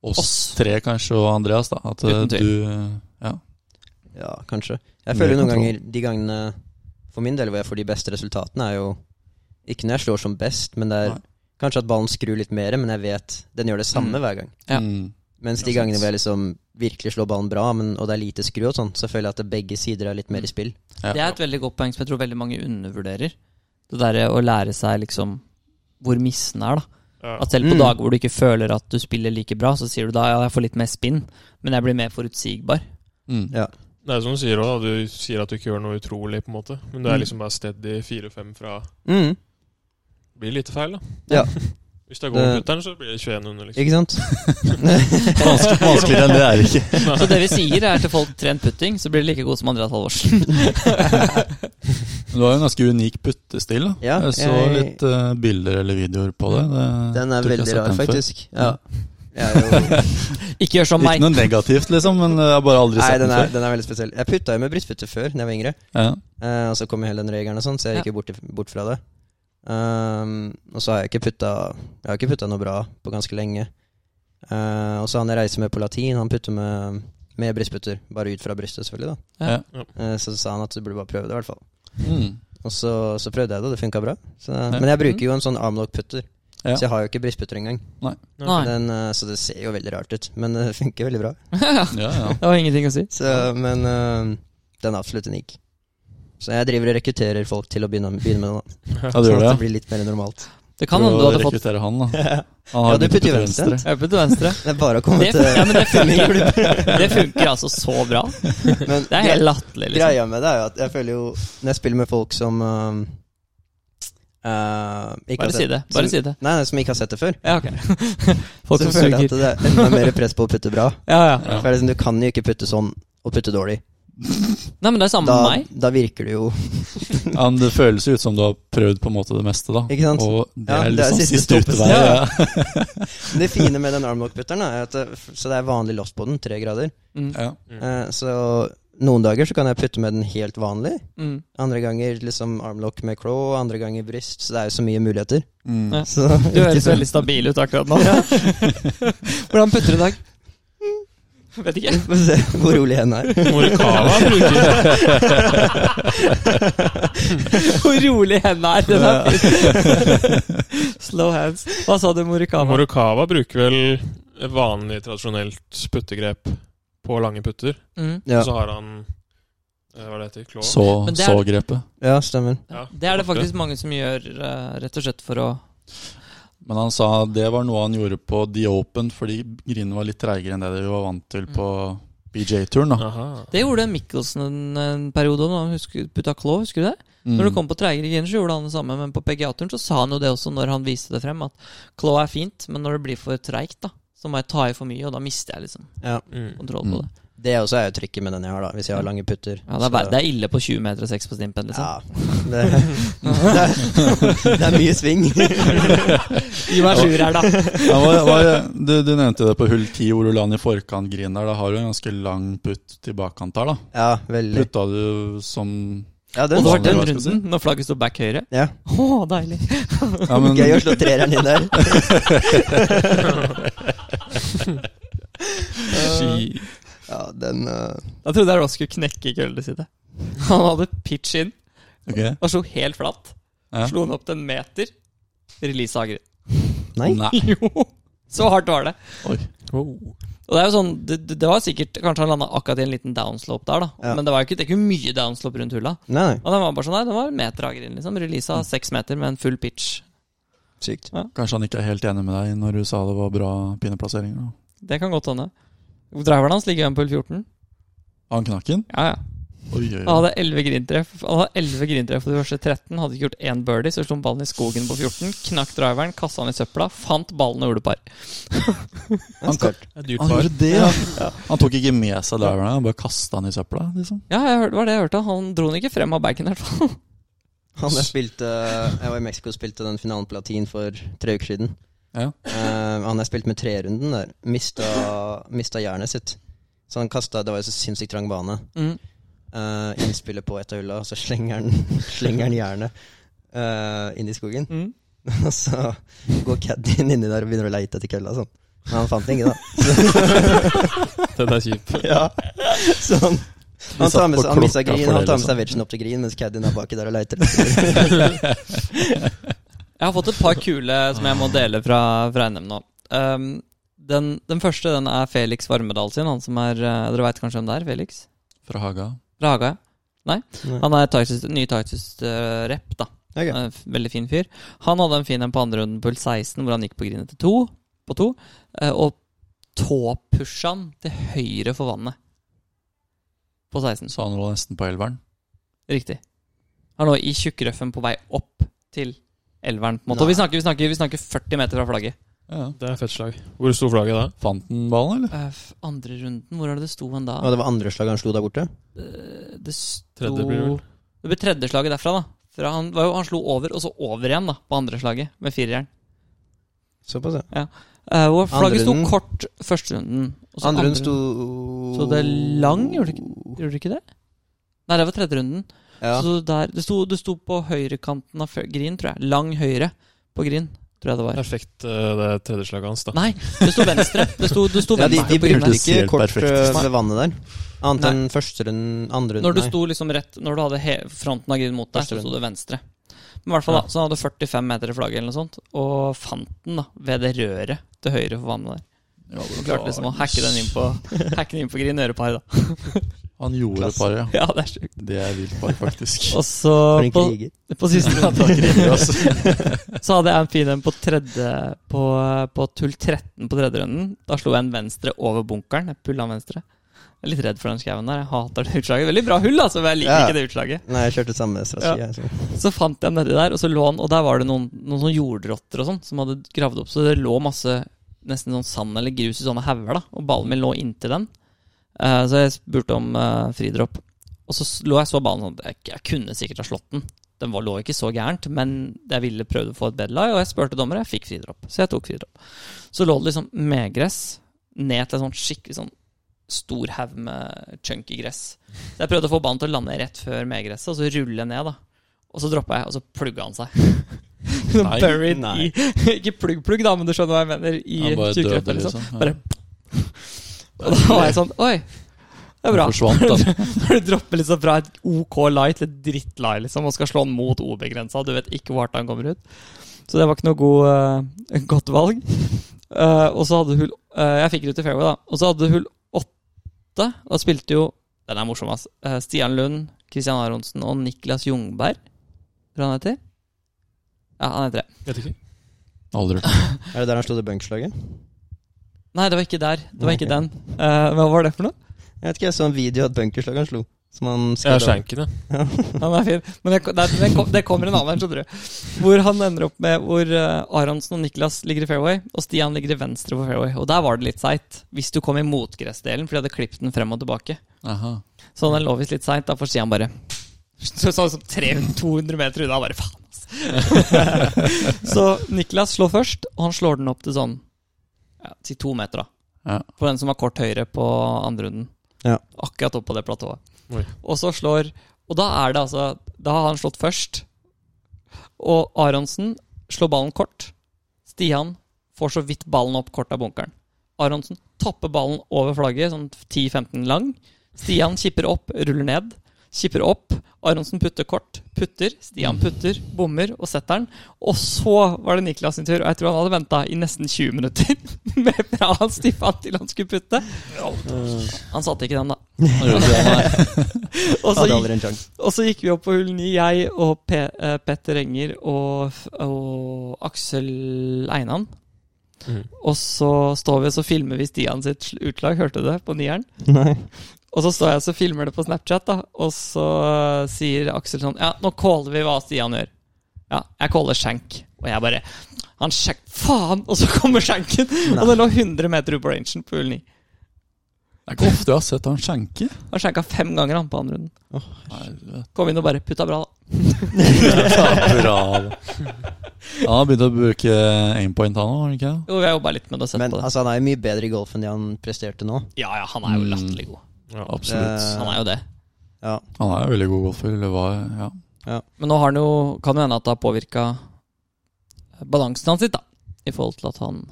Speaker 2: oss,
Speaker 1: Oss.
Speaker 2: tre kanskje og Andreas, da. At eh,
Speaker 1: Uten tvil.
Speaker 2: du Ja.
Speaker 3: Ja, kanskje. Jeg
Speaker 2: Mer
Speaker 3: føler noen
Speaker 2: kontroll.
Speaker 3: ganger de gangene For min del hvor jeg får de beste resultatene, er jo ikke når jeg slår som best, men det er
Speaker 2: Nei.
Speaker 3: kanskje at ballen skrur litt mer, men jeg vet den gjør det samme
Speaker 1: Mm.
Speaker 3: hver gang.
Speaker 1: Ja.
Speaker 2: Mm.
Speaker 3: Mens de
Speaker 2: Ja,
Speaker 3: gangene
Speaker 2: sant.
Speaker 3: hvor jeg liksom virkelig slår ballen bra, men, og det er lite skru og sånn, så føler jeg at begge sider er litt mer i spill.
Speaker 2: Ja.
Speaker 1: Det er et veldig godt poeng som jeg tror veldig mange undervurderer. Det derre å lære seg liksom hvor missen er, da.
Speaker 4: Ja.
Speaker 1: At selv på
Speaker 3: Mm.
Speaker 1: dager hvor du ikke føler at du spiller like bra, så sier du da ja, jeg får litt mer spinn, men jeg blir mer forutsigbar.
Speaker 2: Mm.
Speaker 3: Ja.
Speaker 4: Det er som du sier også, da. Du sier at du ikke gjør noe utrolig, på en måte. Men du er
Speaker 3: Mm.
Speaker 4: liksom bare steady fire-fem fra
Speaker 3: Mm,
Speaker 4: Blir lite feil, da.
Speaker 3: Ja. Eh,
Speaker 4: Hvis det er
Speaker 3: Det-
Speaker 4: gåputteren, så blir det 21 under, liksom.
Speaker 3: ikke sant?
Speaker 2: Vanskelig, vanskeligere enn det er det ikke.
Speaker 1: Så det vi sier er til folk tren putting, så blir det like god som Andreas Halvorsen.
Speaker 2: Men Du har jo en ganske unik puttestil. Da.
Speaker 3: Ja,
Speaker 2: jeg så
Speaker 3: jeg-
Speaker 2: litt eh, bilder eller videoer på det. det
Speaker 1: Mm.
Speaker 3: Den er
Speaker 2: tror ikke jeg har
Speaker 3: veldig rar,
Speaker 2: sett den før.
Speaker 3: faktisk. Ja. Jeg er jo
Speaker 1: Ikke gjør som
Speaker 2: Ikke
Speaker 1: meg.
Speaker 2: noe negativt, liksom, men jeg har bare aldri
Speaker 3: Nei,
Speaker 2: sett
Speaker 3: den
Speaker 2: den
Speaker 3: er,
Speaker 2: før.
Speaker 3: den er veldig spesiell. Jeg putta jo med brystputter før, da jeg var yngre.
Speaker 2: Ja.
Speaker 3: Eh, og så kom jo hele den regelen og sånn, så jeg gikk jo bort, bort fra det. Ehm, og så har jeg ikke putta Jeg har ikke putta noe bra på ganske lenge. Eh, og så han jeg reiser med på latin, han putter med, med brystputter. Bare ut fra brystet, selvfølgelig, da.
Speaker 1: Ja.
Speaker 4: Ja.
Speaker 3: Eh, så sa han at du burde bare prøve det, i hvert fall.
Speaker 2: Mm.
Speaker 3: Og så, så prøvde jeg det, og det funka bra. Så, Men jeg bruker jo en sånn armlock-putter,
Speaker 2: Ja.
Speaker 3: så jeg har jo ikke brystputter engang.
Speaker 1: Nei.
Speaker 3: Den, eh, så det ser jo veldig rart ut, men det funker veldig bra.
Speaker 2: Ja, ja.
Speaker 1: Det var ingenting å si.
Speaker 3: Så, men eh, den er absolutt unik. Så jeg driver og rekrutterer folk til å begynne, begynne med den. da
Speaker 2: ja, du gjør
Speaker 3: sånn at
Speaker 2: det.
Speaker 3: det blir litt mer normalt.
Speaker 1: Det kan hende du hadde fått
Speaker 2: rekruttere han, da. Han
Speaker 3: Ja,
Speaker 2: har
Speaker 3: du
Speaker 2: byttet
Speaker 3: putter jo
Speaker 2: til
Speaker 3: venstre.
Speaker 2: venstre.
Speaker 1: øpe til venstre.
Speaker 3: Det er bare å komme
Speaker 1: Det,
Speaker 3: til
Speaker 1: ja, men det funker. Det funker altså så bra.
Speaker 3: Men
Speaker 1: Det er helt latterlig,
Speaker 3: gre-
Speaker 1: liksom.
Speaker 3: greia med det er jo at jeg føler jo Når jeg spiller med folk som ehm, eh, ikke har
Speaker 1: Bare
Speaker 3: sett-
Speaker 1: si det. Bare
Speaker 3: som,
Speaker 1: si det.
Speaker 3: Nei, nei, som ikke har sett det før.
Speaker 1: Ja, ok. Folk
Speaker 3: så
Speaker 1: som
Speaker 3: føler jeg
Speaker 1: suger.
Speaker 3: at det er enda mer press på å putte bra.
Speaker 1: Ja, ja.
Speaker 2: Ja.
Speaker 3: For det er liksom, du kan jo ikke putte sånn og putte dårlig.
Speaker 1: Nei, men det er samme
Speaker 3: Da,
Speaker 1: med meg.
Speaker 3: da virker det jo
Speaker 2: Ja, men det føles jo ut som du har prøvd på en måte det meste, da.
Speaker 3: Ikke sant?
Speaker 2: Og det
Speaker 3: Ja,
Speaker 2: er
Speaker 3: det er
Speaker 2: liksom
Speaker 3: siste
Speaker 2: siste
Speaker 3: stoppested.
Speaker 2: utvei.
Speaker 1: Ja,
Speaker 2: Ja.
Speaker 3: Det fine med den armlock-putteren er at det, Så det er vanlig loft på den, tre grader.
Speaker 1: Mm,
Speaker 2: Ja.
Speaker 3: Eh, så noen dager så kan jeg putte med den helt vanlig.
Speaker 1: mm.
Speaker 3: Andre ganger liksom armlock med claw, andre ganger bryst. Så det er jo så mye muligheter.
Speaker 2: Mm.
Speaker 1: Ja.
Speaker 3: Så,
Speaker 1: Du høres veldig stabil ut akkurat nå. Hvordan putter du i dag? Vet ikke.
Speaker 3: Vi får se hvor rolig hen er.
Speaker 4: Morikawa bruker
Speaker 1: Hvor rolig hendene er. Den er fin. Slow hands. Hva sa du, Morikawa?
Speaker 4: Morikawa bruker vel et vanlig, tradisjonelt puttegrep på lange putter.
Speaker 1: Mm.
Speaker 3: Ja,
Speaker 4: Og så har han eh, Hva er det heter Klå?
Speaker 2: Så,
Speaker 1: Men det er-
Speaker 2: så grepet.
Speaker 3: ja stemmer.
Speaker 4: Ja.
Speaker 1: Det er det faktisk mange som gjør, eh, rett og slett for å
Speaker 2: Men han sa det var noe han gjorde på The Open, fordi grinene var litt treigere enn det de var vant til på BJ-turen. da.
Speaker 4: Aha.
Speaker 1: Det gjorde Mikkelsen en, en periode da han husker- putta klå, husker du det? Når
Speaker 2: Mm.
Speaker 1: det kom på treigere gren, så gjorde han det samme, men på PGA-turen så sa han jo det også når han viste det frem, at klå er fint, men når det blir for treigt, da, så må jeg ta i for mye, og da mister jeg liksom
Speaker 3: Ja.
Speaker 4: Mm.
Speaker 1: kontroll på det.
Speaker 3: Det også er jo trykket med den jeg har, da, hvis jeg har lange putter.
Speaker 1: Ja, det, er, ver- det er ille på 20 meter og 6 på stimpen, liksom.
Speaker 3: Ja. Det, det, er, det er mye sving.
Speaker 1: Gi meg sjuer her, da.
Speaker 2: Ja, hva, hva, du, du nevnte det på hull 10, hvor du la den i forkant grinen der. Da har du en ganske lang putt til bakkant her, da.
Speaker 3: Ja, veldig.
Speaker 2: Putta du som
Speaker 3: Ja,
Speaker 1: Og
Speaker 3: den
Speaker 1: det var
Speaker 2: vanlig,
Speaker 1: den
Speaker 2: hva skal jeg si?
Speaker 1: runden, når flagget sto back høyre.
Speaker 3: ja.
Speaker 1: Å, deilig.
Speaker 2: ja, men,
Speaker 3: Gøy å slå treeren inn der.
Speaker 2: Ski-
Speaker 3: Eh, Ja, den eh,
Speaker 1: Da trodde jeg Ross skulle knekke køllet sitt. Han hadde pitch inn
Speaker 2: Ok.
Speaker 1: og slo helt flatt.
Speaker 2: Ja.
Speaker 1: Slo den opp til en meter. Release av grunn.
Speaker 3: Nei.
Speaker 2: Ah.
Speaker 1: Jo! Så hardt var det.
Speaker 2: Oi.
Speaker 1: Og det er jo sånn, det, det det var sikkert Kanskje han landa akkurat i en liten downslope der, da.
Speaker 3: Ja.
Speaker 1: Men det var jo ikke, det er ikke mye downslope rundt hulla.
Speaker 3: Nei, nei.
Speaker 1: Og den var bare sånn, nei, den var en meter av grunn, liksom. Release av seks meter med en full pitch.
Speaker 3: Sykt.
Speaker 2: Kanskje han ikke er helt enig med deg når du sa det var bra pinneplasseringer? da.
Speaker 1: Det kan godt hende. Driveren hans ligger igjen på hull 14.
Speaker 2: Han knakken?
Speaker 1: Ja, ja.
Speaker 2: Oi, oi,
Speaker 1: Han
Speaker 2: oi.
Speaker 1: hadde 11 grintreff Han hadde 11 grintreff på de første 13. Hadde ikke gjort én birdie, så slo han ballen i skogen på 14. Knakk driveren, kasta den i søpla, fant ballen og gjorde par.
Speaker 3: Den
Speaker 2: Han
Speaker 3: er sterk.
Speaker 4: Det er dyrt
Speaker 2: Han
Speaker 4: par.
Speaker 2: gjorde det, ja! Han tok ikke med seg driveren, han bare kasta den i søpla. liksom.
Speaker 1: Ja, jeg hørte, det var det jeg hørte. Han dro den ikke frem av bagen, i hvert fall.
Speaker 3: Han jeg spilte eh, Jeg var i Mexico og spilte den finalen på latin for tre uker siden.
Speaker 2: Ja.
Speaker 3: Eh, han jeg spilte med trerunden der, mista, mista jernet sitt. Så han kasta Det var jo så sinnssykt trang bane.
Speaker 1: Mm.
Speaker 3: eh, innspillet på et av hulla, og så slenger han, slenger han jernet eh, inn i skogen.
Speaker 1: Mm.
Speaker 3: Og så går caddien inni der og begynner å leite etter kølla. Sånn. Men han fant ingen, da.
Speaker 4: Den er kjip.
Speaker 3: Ja. Så han,
Speaker 2: De
Speaker 3: han
Speaker 2: satt
Speaker 3: tar med
Speaker 2: på
Speaker 3: seg, han mistet
Speaker 2: klokka
Speaker 3: green,
Speaker 2: for
Speaker 3: han
Speaker 2: det,
Speaker 3: tar med
Speaker 2: liksom.
Speaker 3: seg vegen opp til green, mens caddien er baki der og leiter. etter
Speaker 1: Jeg har fått et par kule som jeg må dele fra, fra NM nå. Um, Den, den første den er Felix Varmedal sin, han som er eh, Dere veit kanskje hvem det er? Felix?
Speaker 2: Fra Haga.
Speaker 1: Fra Haga, ja.
Speaker 3: Nei.
Speaker 1: Han er Tysus, ny Titus-rep, da.
Speaker 3: Ok.
Speaker 1: Eh, f- Veldig fin fyr. Han hadde en fin en på andre runden, pull 16, hvor han gikk på grinet til to, på to. eh, Og tåpusha han til høyre for vannet. På 16.
Speaker 2: Så han lå nesten på elveren.
Speaker 1: Riktig. Han lå i tjukkrøffen på vei opp til elveren. på en måte. Og vi snakker, vi, snakker, vi snakker 40 meter fra flagget.
Speaker 2: Ja.
Speaker 4: Det er fett slag. Hvor sto flagget da?
Speaker 2: Fant han ballen, eller?
Speaker 1: Eh, f- Andre runden, hvor er det det sto han da?
Speaker 3: Og det var andre slaget han slo der borte?
Speaker 1: Eh, Det sto
Speaker 4: Tredje blir det vel.
Speaker 1: Det ble tredje slaget derfra, da. For han, var jo, han slo over, og så over igjen da, på andre slaget, med firejern.
Speaker 3: Såpass, ja.
Speaker 1: Eh, hvor flagget sto
Speaker 3: runden.
Speaker 1: kort første runden. og så
Speaker 3: Andre runden sto
Speaker 1: Så det er lang, gjorde det Gjorde det ikke det? Nei, det var tredje runden.
Speaker 3: Ja.
Speaker 1: Så der, det, sto, det sto på høyrekanten av fø- Green, tror jeg. Lang høyre på Green, tror jeg det var.
Speaker 4: Perfekt eh, det tredje slaget hans, da.
Speaker 1: Nei, det sto venstre. Det sto, det sto
Speaker 3: Ja, de,
Speaker 1: venstre
Speaker 3: de
Speaker 1: på Green.
Speaker 3: brukte
Speaker 1: der.
Speaker 2: det
Speaker 3: ikke
Speaker 2: Helt
Speaker 3: kort
Speaker 2: perfekt.
Speaker 3: eh, ved vannet der. Annet
Speaker 1: Nei.
Speaker 3: enn første runden, andre runden.
Speaker 1: Når du
Speaker 3: nei.
Speaker 1: sto liksom rett Når du hadde he fronten av grid mot deg,
Speaker 3: Første
Speaker 1: så sto
Speaker 3: runde.
Speaker 1: det venstre. Men i hvert fall da
Speaker 4: Ja.
Speaker 1: Så han hadde 45 meter i flagget, eller noe sånt og fant den da ved det røret til høyre for vannet der.
Speaker 2: Ja,
Speaker 1: Og klarte liksom å hacke den inn på Hacke den inn på grin øreparet, da.
Speaker 2: Han gjorde
Speaker 3: Klasse.
Speaker 2: paret, ja.
Speaker 1: Ja, det er sjukt.
Speaker 2: Det er vilt par, faktisk.
Speaker 1: Og så
Speaker 3: For en
Speaker 1: på,
Speaker 3: kriger.
Speaker 1: på siste runde
Speaker 2: altså.
Speaker 1: så hadde jeg en fin en på tredje På, på tull 13 på tredje runden. Da slo jeg en venstre over bunkeren. Jeg pulla en venstre. Jeg er litt redd for den skauen der. Jeg hater det utslaget. Veldig bra hull, altså, men jeg liker
Speaker 3: Ja.
Speaker 1: ikke det utslaget.
Speaker 3: Nei, jeg kjørte samme strategi. jeg, så.
Speaker 1: Så fant jeg den nedi der, og så lå han Og der var det noen, noen sånne jordrotter og sånn som hadde gravd opp, så det lå masse nesten sånn sand eller grus i sånne hauger, da. Og ballen min lå inntil den. Eh, så jeg spurte om eh, fridropp. Og så s- lå jeg så ballen sånn Jeg, jeg kunne sikkert ha slått den. Den var, lå ikke så gærent, men jeg ville prøvd å få et bedelag, og jeg spurte dommer, og jeg fikk fridropp. Så jeg tok fridropp. Så lå det liksom medgress ned til en sånn skikkelig sånn stor haug med chunky gress. Så jeg prøvde å få ballen til å lande rett før medgresset, og så rulle ned, da. Og så droppa jeg, og så plugga han seg. Så
Speaker 2: Nei,
Speaker 1: Buried
Speaker 3: nei.
Speaker 1: i Ikke plugg-plugg, da, men du skjønner hva jeg mener. I
Speaker 2: Han bare døde,
Speaker 1: tjukkrøtta, liksom.
Speaker 2: liksom.
Speaker 1: Bare- Og da var jeg sånn Oi, det er bra.
Speaker 2: Han forsvant, altså.
Speaker 1: Når du dropper liksom fra et OK lie til et dritt-lie, liksom, og skal slå den mot OB-grensa, og du vet ikke hvor hardt han kommer ut. Så det var ikke noe god, eh, godt valg. Eh, og så hadde hull eh, Jeg fikk det ut i fairway, da. Og så hadde hull åtte. Da spilte jo Den er morsom, ass. Eh, Stian Lund, Christian Aronsen og Niklas Jungberg, tror jeg han heter. Ja, han heter det.
Speaker 4: Vet ikke.
Speaker 2: Aldri hørt
Speaker 3: Er det der han slo det bunkslaget?
Speaker 1: Nei, det var ikke der. Det var ikke
Speaker 3: Ok.
Speaker 1: den. Eh, hva var det for noe?
Speaker 3: Jeg vet ikke, jeg så en video av et bunkerslag han slo. Som han
Speaker 4: Jeg er
Speaker 3: skadde.
Speaker 4: shanken, ja.
Speaker 1: Ja, den er fin. Men det, det, det, kom, det kommer en annen, skjønner du. Hvor han ender opp med hvor eh, Aronsen og Niklas ligger i fairway, og Stian ligger i venstre på fairway. Og der var det litt seigt, hvis du kom i motgressdelen, for de hadde klippet den frem og tilbake.
Speaker 2: Aha.
Speaker 1: Så den lå visst litt seint, da får Stian bare så, sånn som 300-200 meter unna, bare faen, altså. så Niklas slår først, og han slår den opp til sånn ja, til to meter, da.
Speaker 2: Ja.
Speaker 1: For den som var kort høyre på andre runden.
Speaker 3: Ja.
Speaker 1: Akkurat opp på det platået.
Speaker 4: Oi.
Speaker 1: Og så slår Og da er det altså Da har han slått først. Og Aronsen slår ballen kort. Stian får så vidt ballen opp kort av bunkeren. Aronsen tapper ballen over flagget, sånn 10-15 lang. Stian kipper opp, ruller ned. Kipper opp. Aronsen putter kort. Putter. Stian putter, bommer og setter den. Og så var det Niklas sin tur, og jeg tror han hadde venta i nesten 20 minutter med fra han stiffa til han skulle putte. Han satte ikke den, da.
Speaker 2: Han gjorde ikke det, nei.
Speaker 1: Og så
Speaker 3: Hadde
Speaker 1: gikk,
Speaker 3: aldri en sjanse.
Speaker 1: og så gikk vi opp på hull 9, jeg og Pe eh, Petter Enger og, og Aksel Einan.
Speaker 3: Mm.
Speaker 4: Mhm.
Speaker 1: Og så står vi og så filmer vi Stian sitt sl- utlag, hørte du det, på nieren?
Speaker 3: Nei.
Speaker 1: Og så står jeg og så filmer det på Snapchat, da. Og så eh, sier Aksel sånn Ja, nå caller vi hva Stian gjør. Ja, jeg caller skjenk. Og jeg bare Han skjenk, faen! Og så kommer skjenken! Og den lå 100 meter ut på rangen på hull 9.
Speaker 2: Det er ikke ofte jeg har sett han skjenke.
Speaker 1: Han skjenka fem ganger, han, på andre runden.
Speaker 2: Herre,
Speaker 1: Kom inn og bare putta bra, da.
Speaker 2: Bra. da. Han har begynt å bruke aimpoint, han òg, har han ikke det?
Speaker 1: Jo, jeg jobba litt med det og sett
Speaker 3: Men
Speaker 1: på det.
Speaker 3: altså, han er jo mye bedre i golf enn det han presterte nå.
Speaker 1: Ja, ja, han er jo
Speaker 2: Mm.
Speaker 1: latterlig god.
Speaker 4: ja.
Speaker 2: Absolutt.
Speaker 3: Eh,
Speaker 1: Han er jo det.
Speaker 3: Ja.
Speaker 2: Han er jo veldig god golfer. Eller var, ja.
Speaker 1: Men nå har han jo, kan jo hende at det har påvirka balansen hans litt, da. I forhold til at han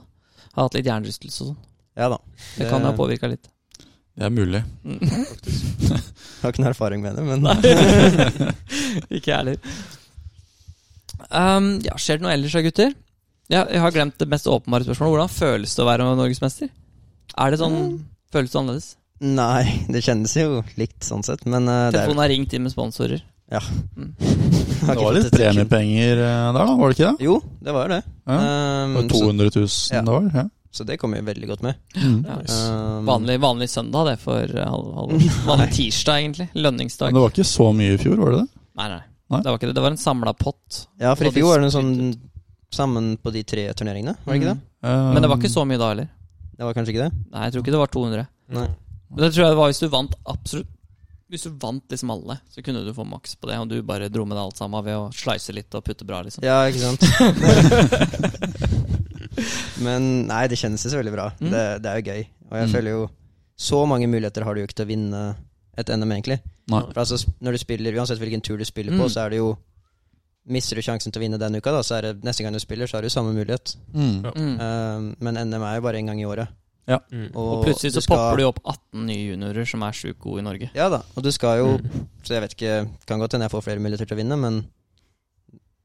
Speaker 1: har hatt litt hjernerystelse og sånn.
Speaker 3: ja da.
Speaker 1: Det kan ha påvirka litt.
Speaker 2: Det er mulig.
Speaker 1: Mm.
Speaker 3: Jeg har ikke noe erfaring med det, men
Speaker 1: Nei. Ikke jeg heller. Um, ja, skjer det noe ellers da, gutter? Ja, jeg har glemt det mest åpenbare spørsmålet. Hvordan føles det å være norgesmester? Er det sånn Føles det annerledes?
Speaker 3: Nei, det kjennes jo likt sånn sett, men eh, det er
Speaker 1: Telefonen er ringt inn med sponsorer.
Speaker 3: har
Speaker 2: Det
Speaker 3: ikke
Speaker 2: var
Speaker 3: fått
Speaker 2: litt
Speaker 3: et sekund.
Speaker 2: premiepenger eh, der, da, var det ikke det?
Speaker 3: Jo, det var jo det.
Speaker 2: Ja.
Speaker 3: Ehm,
Speaker 2: Det var 200 000
Speaker 3: Ja.
Speaker 2: det var? Ja.
Speaker 3: så, så det kom jo veldig godt med.
Speaker 2: Mm.
Speaker 1: Ja.
Speaker 4: Nice.
Speaker 3: Ehm,
Speaker 1: Vanlig, vanlig søndag, det, for eh, halv, halv, vanlig tirsdag, egentlig. Lønningsdag.
Speaker 2: Men det var ikke så mye i fjor, var det det?
Speaker 1: Nei, nei.
Speaker 2: Nei.
Speaker 1: Det var ikke det. Det var en samla pott.
Speaker 3: Ja, for
Speaker 1: Og
Speaker 3: i
Speaker 1: de
Speaker 3: fjor var det noe sånn sammen på de tre turneringene, var det ikke
Speaker 1: Mm.
Speaker 3: det?
Speaker 2: Eh,
Speaker 1: Men det
Speaker 3: Um,
Speaker 1: var ikke så mye da heller.
Speaker 3: Det var kanskje ikke det?
Speaker 1: Nei, jeg tror ikke det var 200.
Speaker 3: Nei.
Speaker 1: Men det tror jeg det var hvis du vant absolutt Hvis du vant liksom alle, så kunne du få maks på det. Og du bare dro med deg alt sammen ved å slice litt og putte bra, liksom.
Speaker 3: Ja, ikke sant? Men nei, det kjennes jo så veldig bra.
Speaker 1: Mm.
Speaker 3: Det, det er jo gøy. Og jeg
Speaker 2: Mm.
Speaker 3: føler jo Så mange muligheter har du jo ikke til å vinne et NM, egentlig.
Speaker 2: Nei.
Speaker 3: For altså, sp- når du spiller, Uansett hvilken tur du spiller på,
Speaker 1: Mm.
Speaker 3: så er det jo Mister du sjansen til å vinne den uka, da, så er det neste gang du spiller, så har du samme mulighet.
Speaker 2: Mm.
Speaker 4: Ja.
Speaker 1: Mm.
Speaker 3: Ehm, men NM er jo bare én gang i året.
Speaker 4: Mm.
Speaker 3: Og,
Speaker 1: Og plutselig så popper det jo opp 18 nye juniorer som er sjukt gode i Norge.
Speaker 3: Ja da, og du skal jo
Speaker 4: Mm.
Speaker 3: Så jeg vet ikke, kan godt hende jeg får flere muligheter til å vinne, men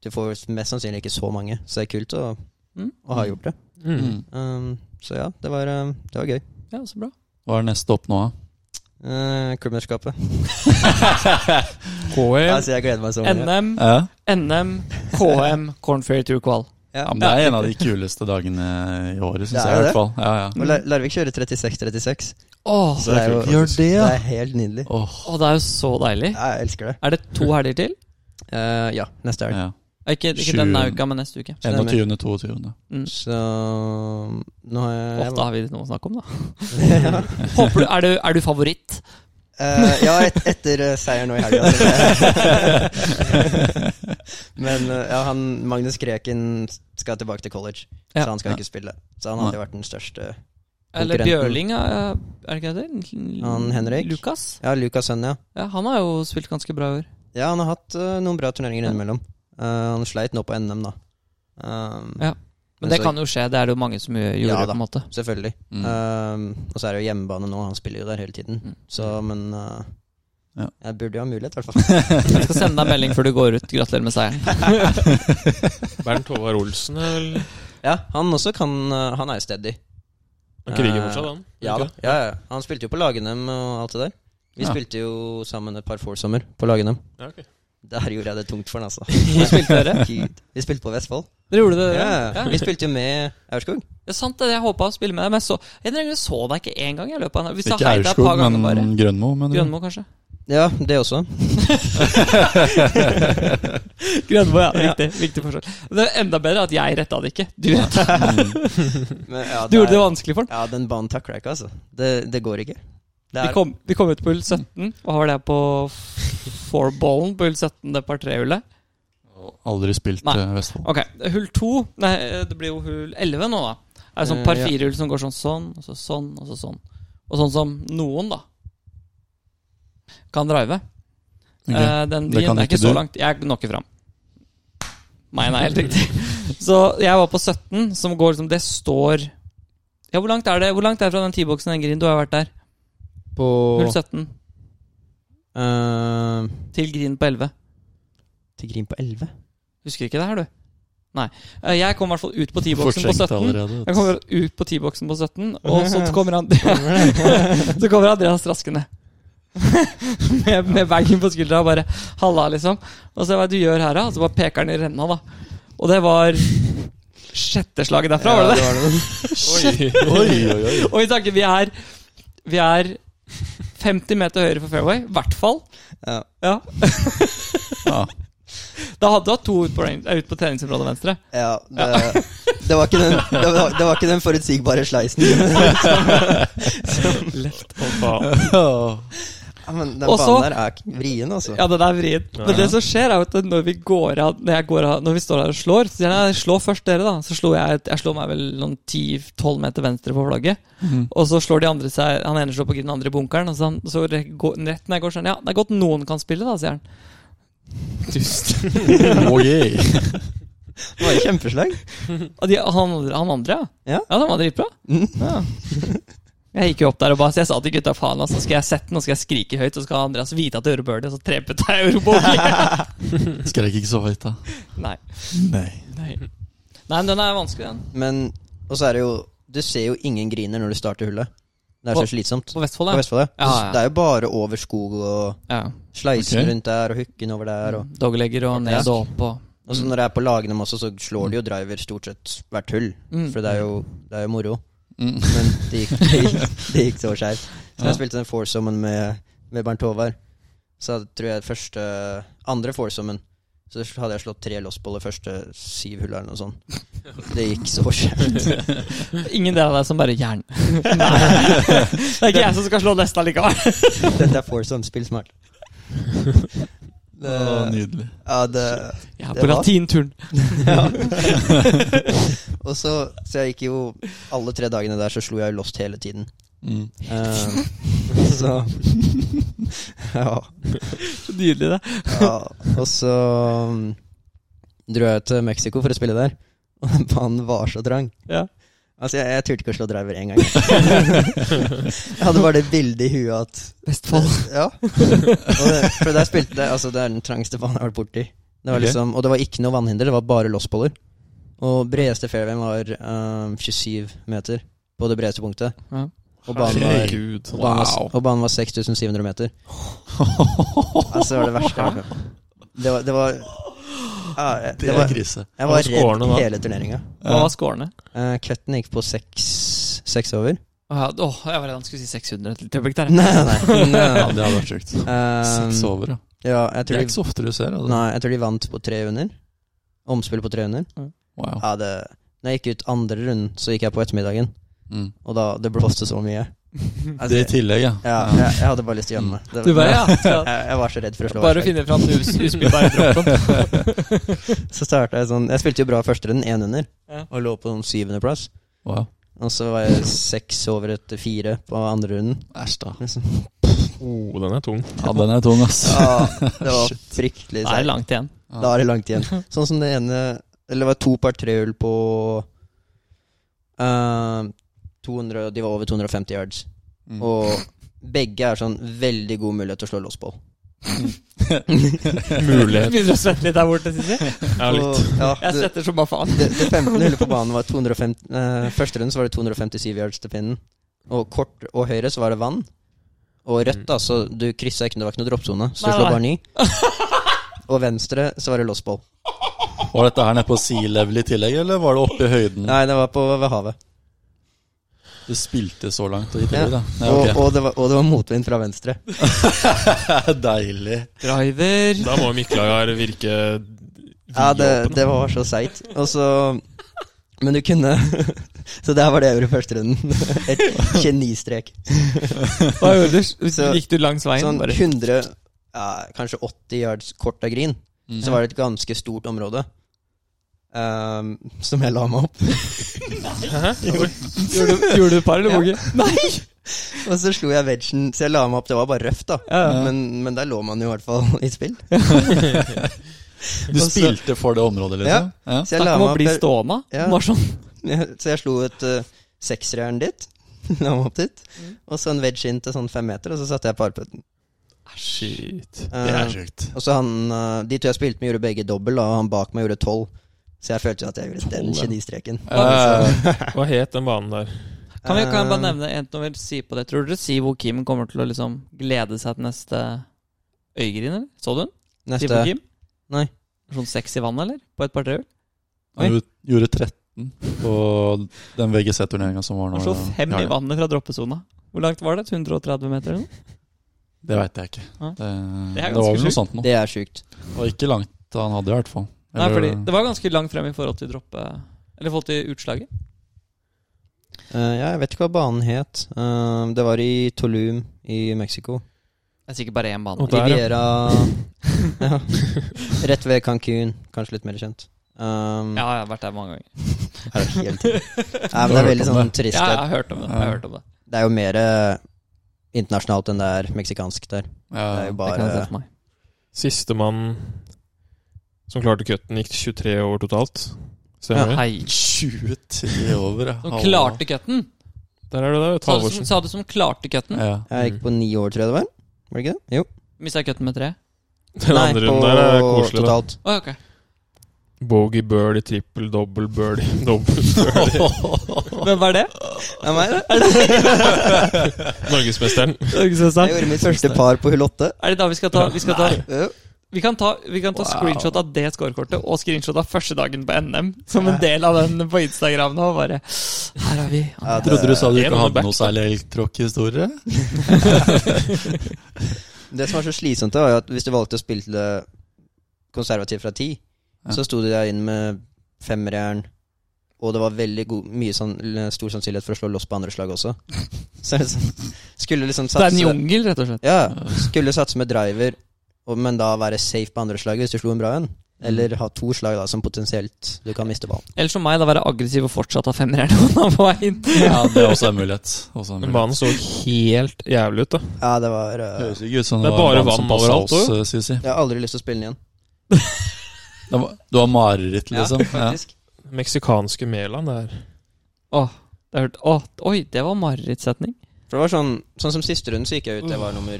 Speaker 3: du får mest sannsynlig ikke så mange. Så det er kult å,
Speaker 1: Mm.
Speaker 3: å ha gjort det.
Speaker 2: Mm.
Speaker 4: Mm.
Speaker 3: Um, så ja, det var, um, det var gøy.
Speaker 1: Ja, så bra.
Speaker 2: Hva er neste opp nå, da?
Speaker 3: Uh, Klubbmesterskapet.
Speaker 4: KL.
Speaker 3: Altså, jeg gleder meg så mye.
Speaker 1: NM,
Speaker 2: Ja.
Speaker 1: NM, KM, Corn Fairy Tour Qual.
Speaker 3: Ja.
Speaker 2: Ja, men det er en av de kuleste dagene i året,
Speaker 3: Det
Speaker 2: syns
Speaker 3: er
Speaker 2: jeg. i hvert
Speaker 3: det.
Speaker 2: fall ja, ja.
Speaker 3: Og Lar- Larvik kjører 36-36.
Speaker 1: Åh,
Speaker 3: Så det er jo
Speaker 2: kult, faktisk. Gjør det, ja.
Speaker 3: Det er helt nydelig.
Speaker 2: Åh,
Speaker 1: åh, det er jo så deilig.
Speaker 3: Ja, jeg elsker det.
Speaker 1: Er det to helger til?
Speaker 3: Uh, ja, neste helg.
Speaker 2: ja.
Speaker 1: Ikke, ikke denne
Speaker 2: Sju.
Speaker 1: uka, men neste uke.
Speaker 2: 21. 22.
Speaker 1: Mm.
Speaker 3: Så nå har jeg
Speaker 1: Ofte har vi noe å snakke om, da.
Speaker 3: ja,
Speaker 1: Håper du, er, du, er du favoritt?
Speaker 3: Eh, ja et, etter eh, seier nå i helga. Men eh, ja, han, Magnus Kreken skal tilbake til college,
Speaker 1: Ja.
Speaker 3: så han skal
Speaker 2: Ja.
Speaker 3: ikke spille. Så han har alltid vært den største.
Speaker 1: Eller
Speaker 3: Konkurrenten.
Speaker 1: Bjørling, er er det ikke det?
Speaker 3: Han Henrik?
Speaker 1: Lukas?
Speaker 3: Ja, Lucas Sønn, ja.
Speaker 1: Ja, han har jo spilt ganske bra i år.
Speaker 3: Ja, han har hatt eh, noen bra turneringer innimellom. Eh, han sleit nå på NM, da. Um,
Speaker 1: Ja, Men det
Speaker 3: så-
Speaker 1: kan jo skje, det er det jo mange som gjør,
Speaker 3: Ja, da.
Speaker 1: på en måte.
Speaker 3: Selvfølgelig.
Speaker 2: Mm.
Speaker 3: Um, og så er det jo hjemmebane nå, han spiller jo der hele tiden.
Speaker 1: Mm.
Speaker 3: Så, men eh,
Speaker 2: Ja.
Speaker 3: jeg burde jo ha mulighet, i hvert fall.
Speaker 1: Jeg skal sende deg en melding før du går ut. Gratulerer med seieren.
Speaker 4: Bernt Håvard Olsen er vel
Speaker 3: ja, han også kan eh, Han er jo steady.
Speaker 4: Han kriger fortsatt, han?
Speaker 3: Ja, da. ja, ja. Han spilte jo på Lag-NM og alt det der. Vi
Speaker 2: Ja.
Speaker 3: spilte jo sammen et par foursommer på Lag-NM.
Speaker 4: Ja, ok.
Speaker 3: Der gjorde jeg det tungt for han, altså.
Speaker 1: Hvor spilte dere?
Speaker 3: Gud. Vi spilte på Vestfold.
Speaker 1: Dere gjorde det? dere?
Speaker 3: Ja, Vi spilte jo med Aurskog.
Speaker 1: Det er sant det, jeg håpa å spille med deg, men jeg så, jeg egentlig så deg ikke én gang. i løpet av en- Vi sa
Speaker 2: Ikke
Speaker 1: hei til deg et
Speaker 2: Aurskog,
Speaker 1: par ganger
Speaker 2: men
Speaker 1: bare.
Speaker 2: Grønmo. Men
Speaker 1: Grønmo, kanskje?
Speaker 3: Ja, det også.
Speaker 1: Grønmo, ja. Riktig. Viktig forskjell. Det er enda bedre at jeg retta det ikke. Du, retta.
Speaker 3: Men, ja,
Speaker 1: du gjorde det
Speaker 3: er-
Speaker 1: vanskelig for ham.
Speaker 3: Ja, den banen takler jeg ikke, altså. Det, det går ikke. Det
Speaker 1: Vi
Speaker 3: er,
Speaker 1: kom, vi kom ut på hull 17, og har det på f- fourballen på hull 17, det par tre-hullet.
Speaker 2: Aldri spilt
Speaker 1: Nei.
Speaker 2: eh, Vestfold.
Speaker 1: Ok, hull 2 Nei, det blir jo hull 11 nå, da. Det er sånn
Speaker 3: Eh,
Speaker 1: par
Speaker 3: ja.
Speaker 1: fire-hull som går sånn sånn, og så sånn, og så sånn. Og sånn som noen, da, kan drive.
Speaker 2: Ok.
Speaker 1: Eh, den
Speaker 2: Det
Speaker 1: drien
Speaker 2: kan
Speaker 1: er ikke
Speaker 2: ikke
Speaker 1: så
Speaker 2: du.
Speaker 1: langt. Jeg når ikke fram. Nei, nei, helt riktig. Så jeg var på 17, som går liksom Det står Ja, hvor langt er det Hvor langt er det fra den T-boksen, den grind? Du har jo vært der.
Speaker 3: på
Speaker 1: Hull 17
Speaker 3: eh,
Speaker 1: til grind på 11.
Speaker 3: Til Grim på 11?
Speaker 1: Husker ikke det her, du? Nei. Eh, Jeg kom i hvert fall ut på T-boksen på
Speaker 2: Forskjekt
Speaker 1: 17.
Speaker 2: allerede.
Speaker 1: Jeg kommer ut på T-boksen på 17, og så kommer, han, så kommer Andreas raskende. med, med bagen på skuldra og bare 'halla', liksom. Og så hva er det du gjør her, da? Og så bare peker han i renna, da. Og det var sjette slaget derfra, var det det?
Speaker 3: Ja, det, var det.
Speaker 4: Oi.
Speaker 2: Oi, oi, oi.
Speaker 1: Og vi tanke, vi er Vi er 50 meter høyre for fairway, i hvert fall.
Speaker 3: Ja.
Speaker 1: Ja.
Speaker 2: Ja.
Speaker 1: Da hadde du hatt to ut på, range- eh, ut på treningsområdet venstre.
Speaker 3: Ja, det, det, var ikke den, det, var, det var ikke den forutsigbare sleisen. Ja, men den
Speaker 1: Og så-
Speaker 3: banen der er k- vrien, altså.
Speaker 1: Ja, den er vrien. Men
Speaker 4: Ja.
Speaker 1: det som skjer, er jo at når vi går av Når, jeg går av, når vi står her og slår, så sier jeg «Nei, slå først dere, da. Så slo jeg Jeg slo meg vel noen 10-12 meter venstre på flagget.
Speaker 3: Mhm.
Speaker 1: Og så slår de andre seg Han ene slår på grunn, den andre i bunkeren. Og så, så re- går, rett når jeg går sånn Ja, det er godt noen kan spille, da, sier han.
Speaker 4: Tusen.
Speaker 2: Ok.
Speaker 3: Det var jo kjempeslag.
Speaker 1: Og de, han, andre- han andre, ja.
Speaker 3: Ja.
Speaker 1: Ja, den var dritbra.
Speaker 3: Mm.
Speaker 1: Ja. Jeg gikk jo opp der og bare Så jeg sa til gutta faen, altså, skal jeg sette den, og skal jeg skrike høyt, og så skal Andreas vite at jeg gjorde birdie, og så trepet jeg eurobogey.
Speaker 2: Skrek ikke så høyt, da.
Speaker 1: Nei.
Speaker 2: Nei.
Speaker 1: Nei. Nei, men den er vanskelig, den.
Speaker 3: Men Og så er det jo Du ser jo ingen griner når du starter hullet. Det er
Speaker 1: På-
Speaker 3: så slitsomt.
Speaker 1: På Vestfold,
Speaker 3: På
Speaker 1: ja.
Speaker 3: Vestfold, ja.
Speaker 1: Ja, ja.
Speaker 3: Det er jo bare over skog og
Speaker 1: ja.
Speaker 3: sleisen
Speaker 2: Ok.
Speaker 3: rundt der og hooken over der. Og,
Speaker 1: Doglegger og ned og opp og
Speaker 3: og så når det er på lagene også, så slår de jo driver stort sett hvert hull.
Speaker 1: Mm.
Speaker 3: For det er jo, det er jo moro.
Speaker 2: Mm.
Speaker 3: Men det gikk, det gikk, det gikk så skjevt. Så jeg spilte den foursommen med, med Bernt Håvard. Så jeg tror jeg første andre foursommen så hadde jeg slått tre lossboller første syv hull eller noe sånt. Det gikk så skjevt.
Speaker 1: Ingen del av deg som bare jern. Nei. Det er ikke jeg som skal slå neste likevel.
Speaker 3: Dette er foursome, spill smart. Det,
Speaker 2: Å, nydelig.
Speaker 3: ja, det,
Speaker 1: Jeg er
Speaker 3: Det
Speaker 1: på
Speaker 3: var-
Speaker 1: latinturn.
Speaker 3: ja. Og så, så jeg gikk jo Alle tre dagene der så slo jeg jo lost hele tiden.
Speaker 2: Mm.
Speaker 3: Eh, så Ja.
Speaker 1: Så nydelig, det.
Speaker 3: Ja, og så um, dro jeg til Mexico for å spille der. Og den banen var så trang.
Speaker 1: Ja.
Speaker 3: Altså, jeg, jeg turte ikke å slå driver én gang. jeg hadde bare det bildet i huet at
Speaker 1: Vestfold.
Speaker 3: Ja. Og det, for der spilte jeg Altså, det er den trangeste banen jeg har vært borti. Det var
Speaker 2: Ok.
Speaker 3: liksom, og det var ikke noe vannhinder, det var bare lossboller. Og bredeste fairwayen var um, 27 meter på det bredeste punktet.
Speaker 1: Ja.
Speaker 3: Og banen var
Speaker 4: Herregud.
Speaker 3: og banen
Speaker 2: Wow.
Speaker 3: var, og banen var 6700 meter. Altså, det var det verste jeg har hørt. Det var, det var, ja, jeg-
Speaker 2: Det
Speaker 3: det var
Speaker 2: er krise.
Speaker 3: Jeg
Speaker 4: Hva var
Speaker 3: var
Speaker 4: scorene da?
Speaker 3: redd hele turneringa.
Speaker 1: Hva var scorene?
Speaker 3: Uh, cutten gikk på seks, seks over.
Speaker 1: Åh, ja, åh, jeg var redd han skulle si 600 et lite øyeblikk der.
Speaker 3: Nei, nei, nei.
Speaker 2: Ja,
Speaker 3: nei.
Speaker 2: det hadde vært sjukt.
Speaker 3: Um,
Speaker 2: Seks over, ja.
Speaker 3: ja, jeg
Speaker 2: Det
Speaker 3: tror,
Speaker 2: er ikke
Speaker 3: de,
Speaker 2: så ofte du ser. Altså.
Speaker 3: nei, jeg tror de vant på tre under. Omspill på tre under.
Speaker 2: Wow.
Speaker 3: Ja, det, når jeg gikk ut andre runden, så gikk jeg på ettermiddagen,
Speaker 2: Mm.
Speaker 3: og da det blåste så mye. Altså,
Speaker 2: Det i tillegg, ja.
Speaker 3: ja, jeg, jeg hadde bare lyst til å gjemme meg. Det-
Speaker 1: Du bare, ja.
Speaker 3: jeg,
Speaker 1: skal-
Speaker 3: jeg var så redd for å slå
Speaker 1: Bare
Speaker 3: avslag.
Speaker 1: finne fram den us uspillbare droppen.
Speaker 3: Så startet jeg sånn Jeg spilte jo bra første runden, én under,
Speaker 1: Ja.
Speaker 3: og lå på sånn syvendeplass.
Speaker 2: Wow.
Speaker 3: Og så var jeg seks over etter fire på andre runden.
Speaker 2: Æsj, da.
Speaker 3: Liksom.
Speaker 4: Oh, den er tung.
Speaker 2: Ja, den er tung, ass.
Speaker 1: Ah,
Speaker 3: Ja, det var
Speaker 1: Da er
Speaker 3: fryktelig
Speaker 1: det
Speaker 3: seigt.
Speaker 1: langt igjen.
Speaker 3: Da er det langt igjen. Sånn som det ene Eller det var to par trehull på eh, 200, De var over 250 yards.
Speaker 2: Mm.
Speaker 3: Og begge er sånn veldig god mulighet til å slå lossball.
Speaker 4: Mulighet.
Speaker 1: Begynner å svette litt der borte, synes jeg.
Speaker 4: Ja, litt.
Speaker 3: Og, ja,
Speaker 1: Jeg
Speaker 3: det,
Speaker 1: svetter som bare faen.
Speaker 3: det, det 15. hullet på banen var 250 eh, Første runde så var det 257 yards til pinnen. Og kort og høyre så var det vann. Og rødt,
Speaker 2: Mm.
Speaker 3: da, så du kryssa ikke, det var ikke noe droppsone. Så du
Speaker 1: Nei,
Speaker 3: slo
Speaker 1: nei.
Speaker 3: bare ni. Og venstre så var det lossball.
Speaker 2: Var dette her nede på sea level i tillegg, eller var det oppe i høyden?
Speaker 3: Nei, det var på ved havet.
Speaker 2: Du spilte så langt og i tillegg, da. Ja,
Speaker 3: Og,
Speaker 2: ok.
Speaker 3: og, det var, og det var motvind fra venstre.
Speaker 2: Deilig.
Speaker 1: Driver.
Speaker 4: Da må jo Miklagar virke
Speaker 3: Ja, det, det var så seigt. Og så Men du kunne Så der var det jeg gjorde i første runden. Et genistrek.
Speaker 1: Hva gjorde du?
Speaker 3: Så-
Speaker 1: Gikk du langs veien?
Speaker 3: Sånn
Speaker 1: bare?
Speaker 3: 100, ja, kanskje 80 yards kort av green, Mm. så var det et ganske stort område. ehm, som jeg la meg opp.
Speaker 1: Gjorde, du- gjorde du par eller
Speaker 3: Ja.
Speaker 1: boogie? Nei!
Speaker 3: Og så slo jeg vegen, så jeg la meg opp. Det var bare røft, da.
Speaker 1: Ja.
Speaker 3: Men, men der lå man jo i hvert fall i spill.
Speaker 2: Du
Speaker 3: Og så-
Speaker 2: spilte for det området, liksom? Ja.
Speaker 3: Så jeg
Speaker 1: Snakk
Speaker 3: la
Speaker 1: om å
Speaker 3: meg
Speaker 1: bli
Speaker 3: opp der.
Speaker 1: stående.
Speaker 3: Ja.
Speaker 1: Bare sånn.
Speaker 3: Ja, Så jeg slo et uh, seksjern dit. La meg opp dit.
Speaker 2: Mm.
Speaker 3: Og så en wedge inn til sånn fem meter, og så satte jeg parputten.
Speaker 4: Shit.
Speaker 2: Det
Speaker 3: Ah, Eh,
Speaker 2: er sjukt.
Speaker 3: og så han eh, De to jeg spilte med, gjorde begge dobbel, og han bak meg gjorde tolv. Så jeg følte jo at jeg gjorde den
Speaker 4: Tolv, ja.
Speaker 3: genistreken.
Speaker 2: Eh,
Speaker 4: Hva het den banen der?
Speaker 1: Kan, vi, kan jeg bare
Speaker 3: Eh,
Speaker 1: nevne en som vil si på det? Tror dere Sivo Kim kommer til å liksom glede seg til neste øygrin, eller? Så du den? Sivo
Speaker 3: Neste
Speaker 1: Kim?
Speaker 3: Nei.
Speaker 1: Sånn seks i vannet, eller? På et par trehjul?
Speaker 2: han gjorde- gjorde 13 på den VGC-turneringa som var nå.
Speaker 1: Han slo
Speaker 2: i
Speaker 1: fem i
Speaker 2: helga.
Speaker 1: vannet fra droppesona. Hvor langt var det? 130 meter eller noe?
Speaker 2: Det veit jeg ikke.
Speaker 1: Nei.
Speaker 2: Det, det,
Speaker 1: ganske
Speaker 2: var vel
Speaker 1: sjukt.
Speaker 2: noe sånt noe.
Speaker 3: Det er sjukt.
Speaker 2: Det var ikke langt han hadde, i hvert fall.
Speaker 1: Nei,
Speaker 2: Eller-
Speaker 1: fordi det var ganske langt frem i forhold til droppe... Eller i forhold til utslaget.
Speaker 3: Eh, ja, jeg vet ikke hva banen het. Eh, det var i Tulum i Mexico.
Speaker 1: Det er sikkert bare én bane.
Speaker 4: Og der, ja.
Speaker 3: Riviera ja. Rett ved Cancún, kanskje litt mer kjent. Um,
Speaker 1: Ja, jeg har vært der mange ganger.
Speaker 3: er det helt Nei, men det er veldig sånn turist
Speaker 1: Ja, jeg har hørt om det. Jeg har hørt om det.
Speaker 3: Det er jo mer eh, internasjonalt enn det er meksikansk der. Det er
Speaker 2: ja,
Speaker 3: jo
Speaker 1: Det kan jeg se
Speaker 3: bare
Speaker 1: for meg.
Speaker 4: Sistemann som klarte cutten, gikk 23 over totalt.
Speaker 1: Ja,
Speaker 4: Stemmer det?
Speaker 1: hei.
Speaker 2: 23 over, ja.
Speaker 1: Som klarte cutten!
Speaker 4: Der er det da,
Speaker 1: Sa du som,
Speaker 4: Halvorsen.
Speaker 1: sa du som klarte cutten?
Speaker 2: ja.
Speaker 3: Jeg gikk på ni år, tror jeg det var. Var det ikke det? Jo.
Speaker 1: Mista cutten med tre?
Speaker 4: Den andre runden der er koselig, da.
Speaker 3: totalt.
Speaker 1: Å, ok.
Speaker 4: Bogey, birdie, trippel, dobbel, birdie, dobbel, birdie.
Speaker 1: Hvem var det?
Speaker 3: Det er meg, det.
Speaker 4: Norgesmesteren.
Speaker 3: Jeg gjorde mitt første par på hull åtte.
Speaker 1: Er det da vi skal ta Vi, skal ta,
Speaker 3: Jo.
Speaker 1: vi kan ta, vi kan ta
Speaker 2: Wow.
Speaker 1: screenshot av det scorekortet og screenshot av første dagen på NM som en del av den på Instagram nå. Bare Her har vi
Speaker 3: Ja, det-
Speaker 2: Trodde du sa du
Speaker 4: En
Speaker 2: ikke
Speaker 4: on the
Speaker 2: hadde
Speaker 4: back,
Speaker 2: noe særlig elgtråkkhistorie?
Speaker 3: Det som var så slitsomt, da, var jo at hvis du valgte å spille til det konservativt fra ti,
Speaker 2: Ja.
Speaker 3: så sto du der inne med femmerjern, og det var veldig god, mye sann- stor sannsynlighet for å slå loss på andre slag også. Så er det sånn, skulle liksom
Speaker 1: Det er en
Speaker 3: satse
Speaker 1: jungel, rett og slett.
Speaker 3: Ja,
Speaker 2: Eh.
Speaker 3: skulle satse med driver, og, men da være safe på andre slaget hvis du slo en bra en. Eller ha to slag da som potensielt du kan miste ballen.
Speaker 1: Eller som meg, da være aggressiv og fortsatt ha femmere eller noe på vei inn.
Speaker 2: Ja, det er også en mulighet. Også en
Speaker 4: Men
Speaker 2: mulighet.
Speaker 4: banen så helt jævlig ut, da.
Speaker 3: Ja, det var eh,
Speaker 2: Høres ikke ut som
Speaker 4: Det
Speaker 2: det,
Speaker 4: er
Speaker 2: var
Speaker 4: bare
Speaker 2: en mann som
Speaker 4: vann
Speaker 2: passa
Speaker 4: overalt,
Speaker 2: oss, eh, Sisi.
Speaker 3: Jeg har aldri lyst til å spille den igjen.
Speaker 2: Det var- Du har mareritt, liksom? Ja,
Speaker 3: faktisk.
Speaker 4: Meksikanske Mæland der.
Speaker 1: Åh, det har hørt, åh, oi, det var marerittsetning.
Speaker 3: For det var sånn, sånn som siste runden så gikk jeg ut, jeg var nummer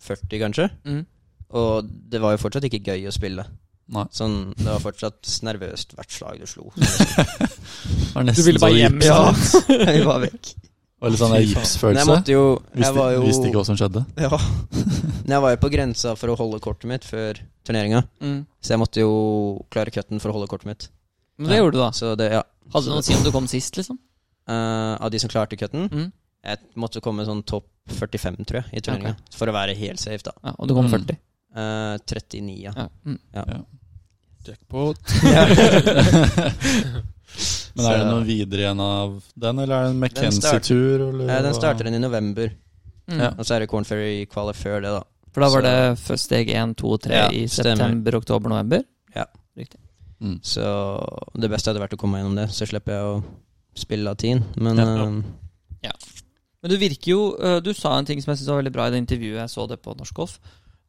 Speaker 3: 40 kanskje.
Speaker 1: Mm.
Speaker 3: Og det var jo fortsatt ikke gøy å spille.
Speaker 2: Nei.
Speaker 3: Sånn, Det var fortsatt nervøst hvert slag du slo.
Speaker 2: Det var nesten
Speaker 1: Du ville
Speaker 2: så
Speaker 1: bare
Speaker 2: gips-
Speaker 1: hjem,
Speaker 3: Ja.
Speaker 1: ja.
Speaker 3: Vi var vekk.
Speaker 2: Det var litt sånn der
Speaker 3: Men
Speaker 4: Fy faen.
Speaker 3: jeg
Speaker 2: gipsfølelse.
Speaker 3: måtte jo Jeg
Speaker 2: Visste,
Speaker 3: var jo
Speaker 2: visste ikke hva som skjedde.
Speaker 3: Ja. Men jeg var jo på grensa for å holde kortet mitt før turneringa.
Speaker 1: Mm.
Speaker 3: Så jeg måtte jo klare cutten for å holde kortet mitt.
Speaker 1: Men det gjorde du, da.
Speaker 3: Så det, ja.
Speaker 1: Hadde det noe å si om du kom sist, liksom?
Speaker 3: Eh, av de som klarte cutten,
Speaker 1: Mm.
Speaker 3: jeg måtte komme sånn topp 45, tror jeg, i turneringa. For å være helt safe, da.
Speaker 1: Ja, og du kom
Speaker 2: Mm.
Speaker 1: 40.
Speaker 3: Eh, 39, ja.
Speaker 1: Ja. Mm.
Speaker 4: Jackpot.
Speaker 2: Men er det
Speaker 3: Så-
Speaker 2: noe videre igjen av den, eller er det en
Speaker 3: start-
Speaker 2: McKenzie-tur?
Speaker 3: Eh, den starter den i november,
Speaker 1: Mm.
Speaker 2: Ja.
Speaker 3: og så er det Corn Ferry Quali før det, da.
Speaker 1: For da var
Speaker 3: Så-
Speaker 1: det først steg 1, 2 og 3
Speaker 3: Ja,
Speaker 1: i
Speaker 3: stemmer.
Speaker 1: september, oktober, november.
Speaker 2: Mm.
Speaker 3: Så det beste hadde vært å komme meg gjennom det, så slipper jeg å spille latin. Men
Speaker 2: Ja, ja.
Speaker 3: eh,
Speaker 1: Men du virker jo øh, Du sa en ting som jeg synes var veldig bra i det intervjuet jeg så det på Norsk Golf.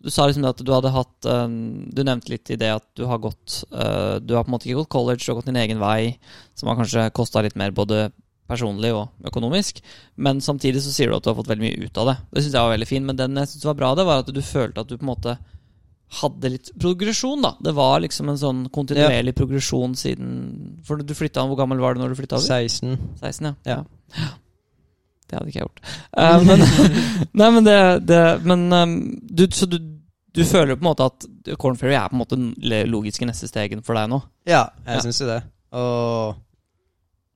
Speaker 1: Du sa liksom det at du hadde hatt øhm, Du nevnte litt i det at du har gått øh, Du har på en måte ikke gått college, du har gått din egen vei, som har kanskje kosta litt mer både personlig og økonomisk. Men samtidig så sier du at du har fått veldig mye ut av det. Det syns jeg var veldig fin. Men den jeg syns var bra, det var at du følte at du på en måte hadde litt progresjon, da. Det var liksom en sånn kontinuerlig progresjon siden For du flytta Hvor gammel var du når du flytta over?
Speaker 3: 16
Speaker 1: 16, ja.
Speaker 3: Ja.
Speaker 1: Ja. Det hadde ikke jeg gjort. Eh, men, nei, men det, det Men ehm, du, så du, du føler på en måte at Corn Ferry er på en måte den le- logiske neste stegen for deg nå?
Speaker 3: Ja, jeg
Speaker 1: Ja.
Speaker 3: syns jo det. Og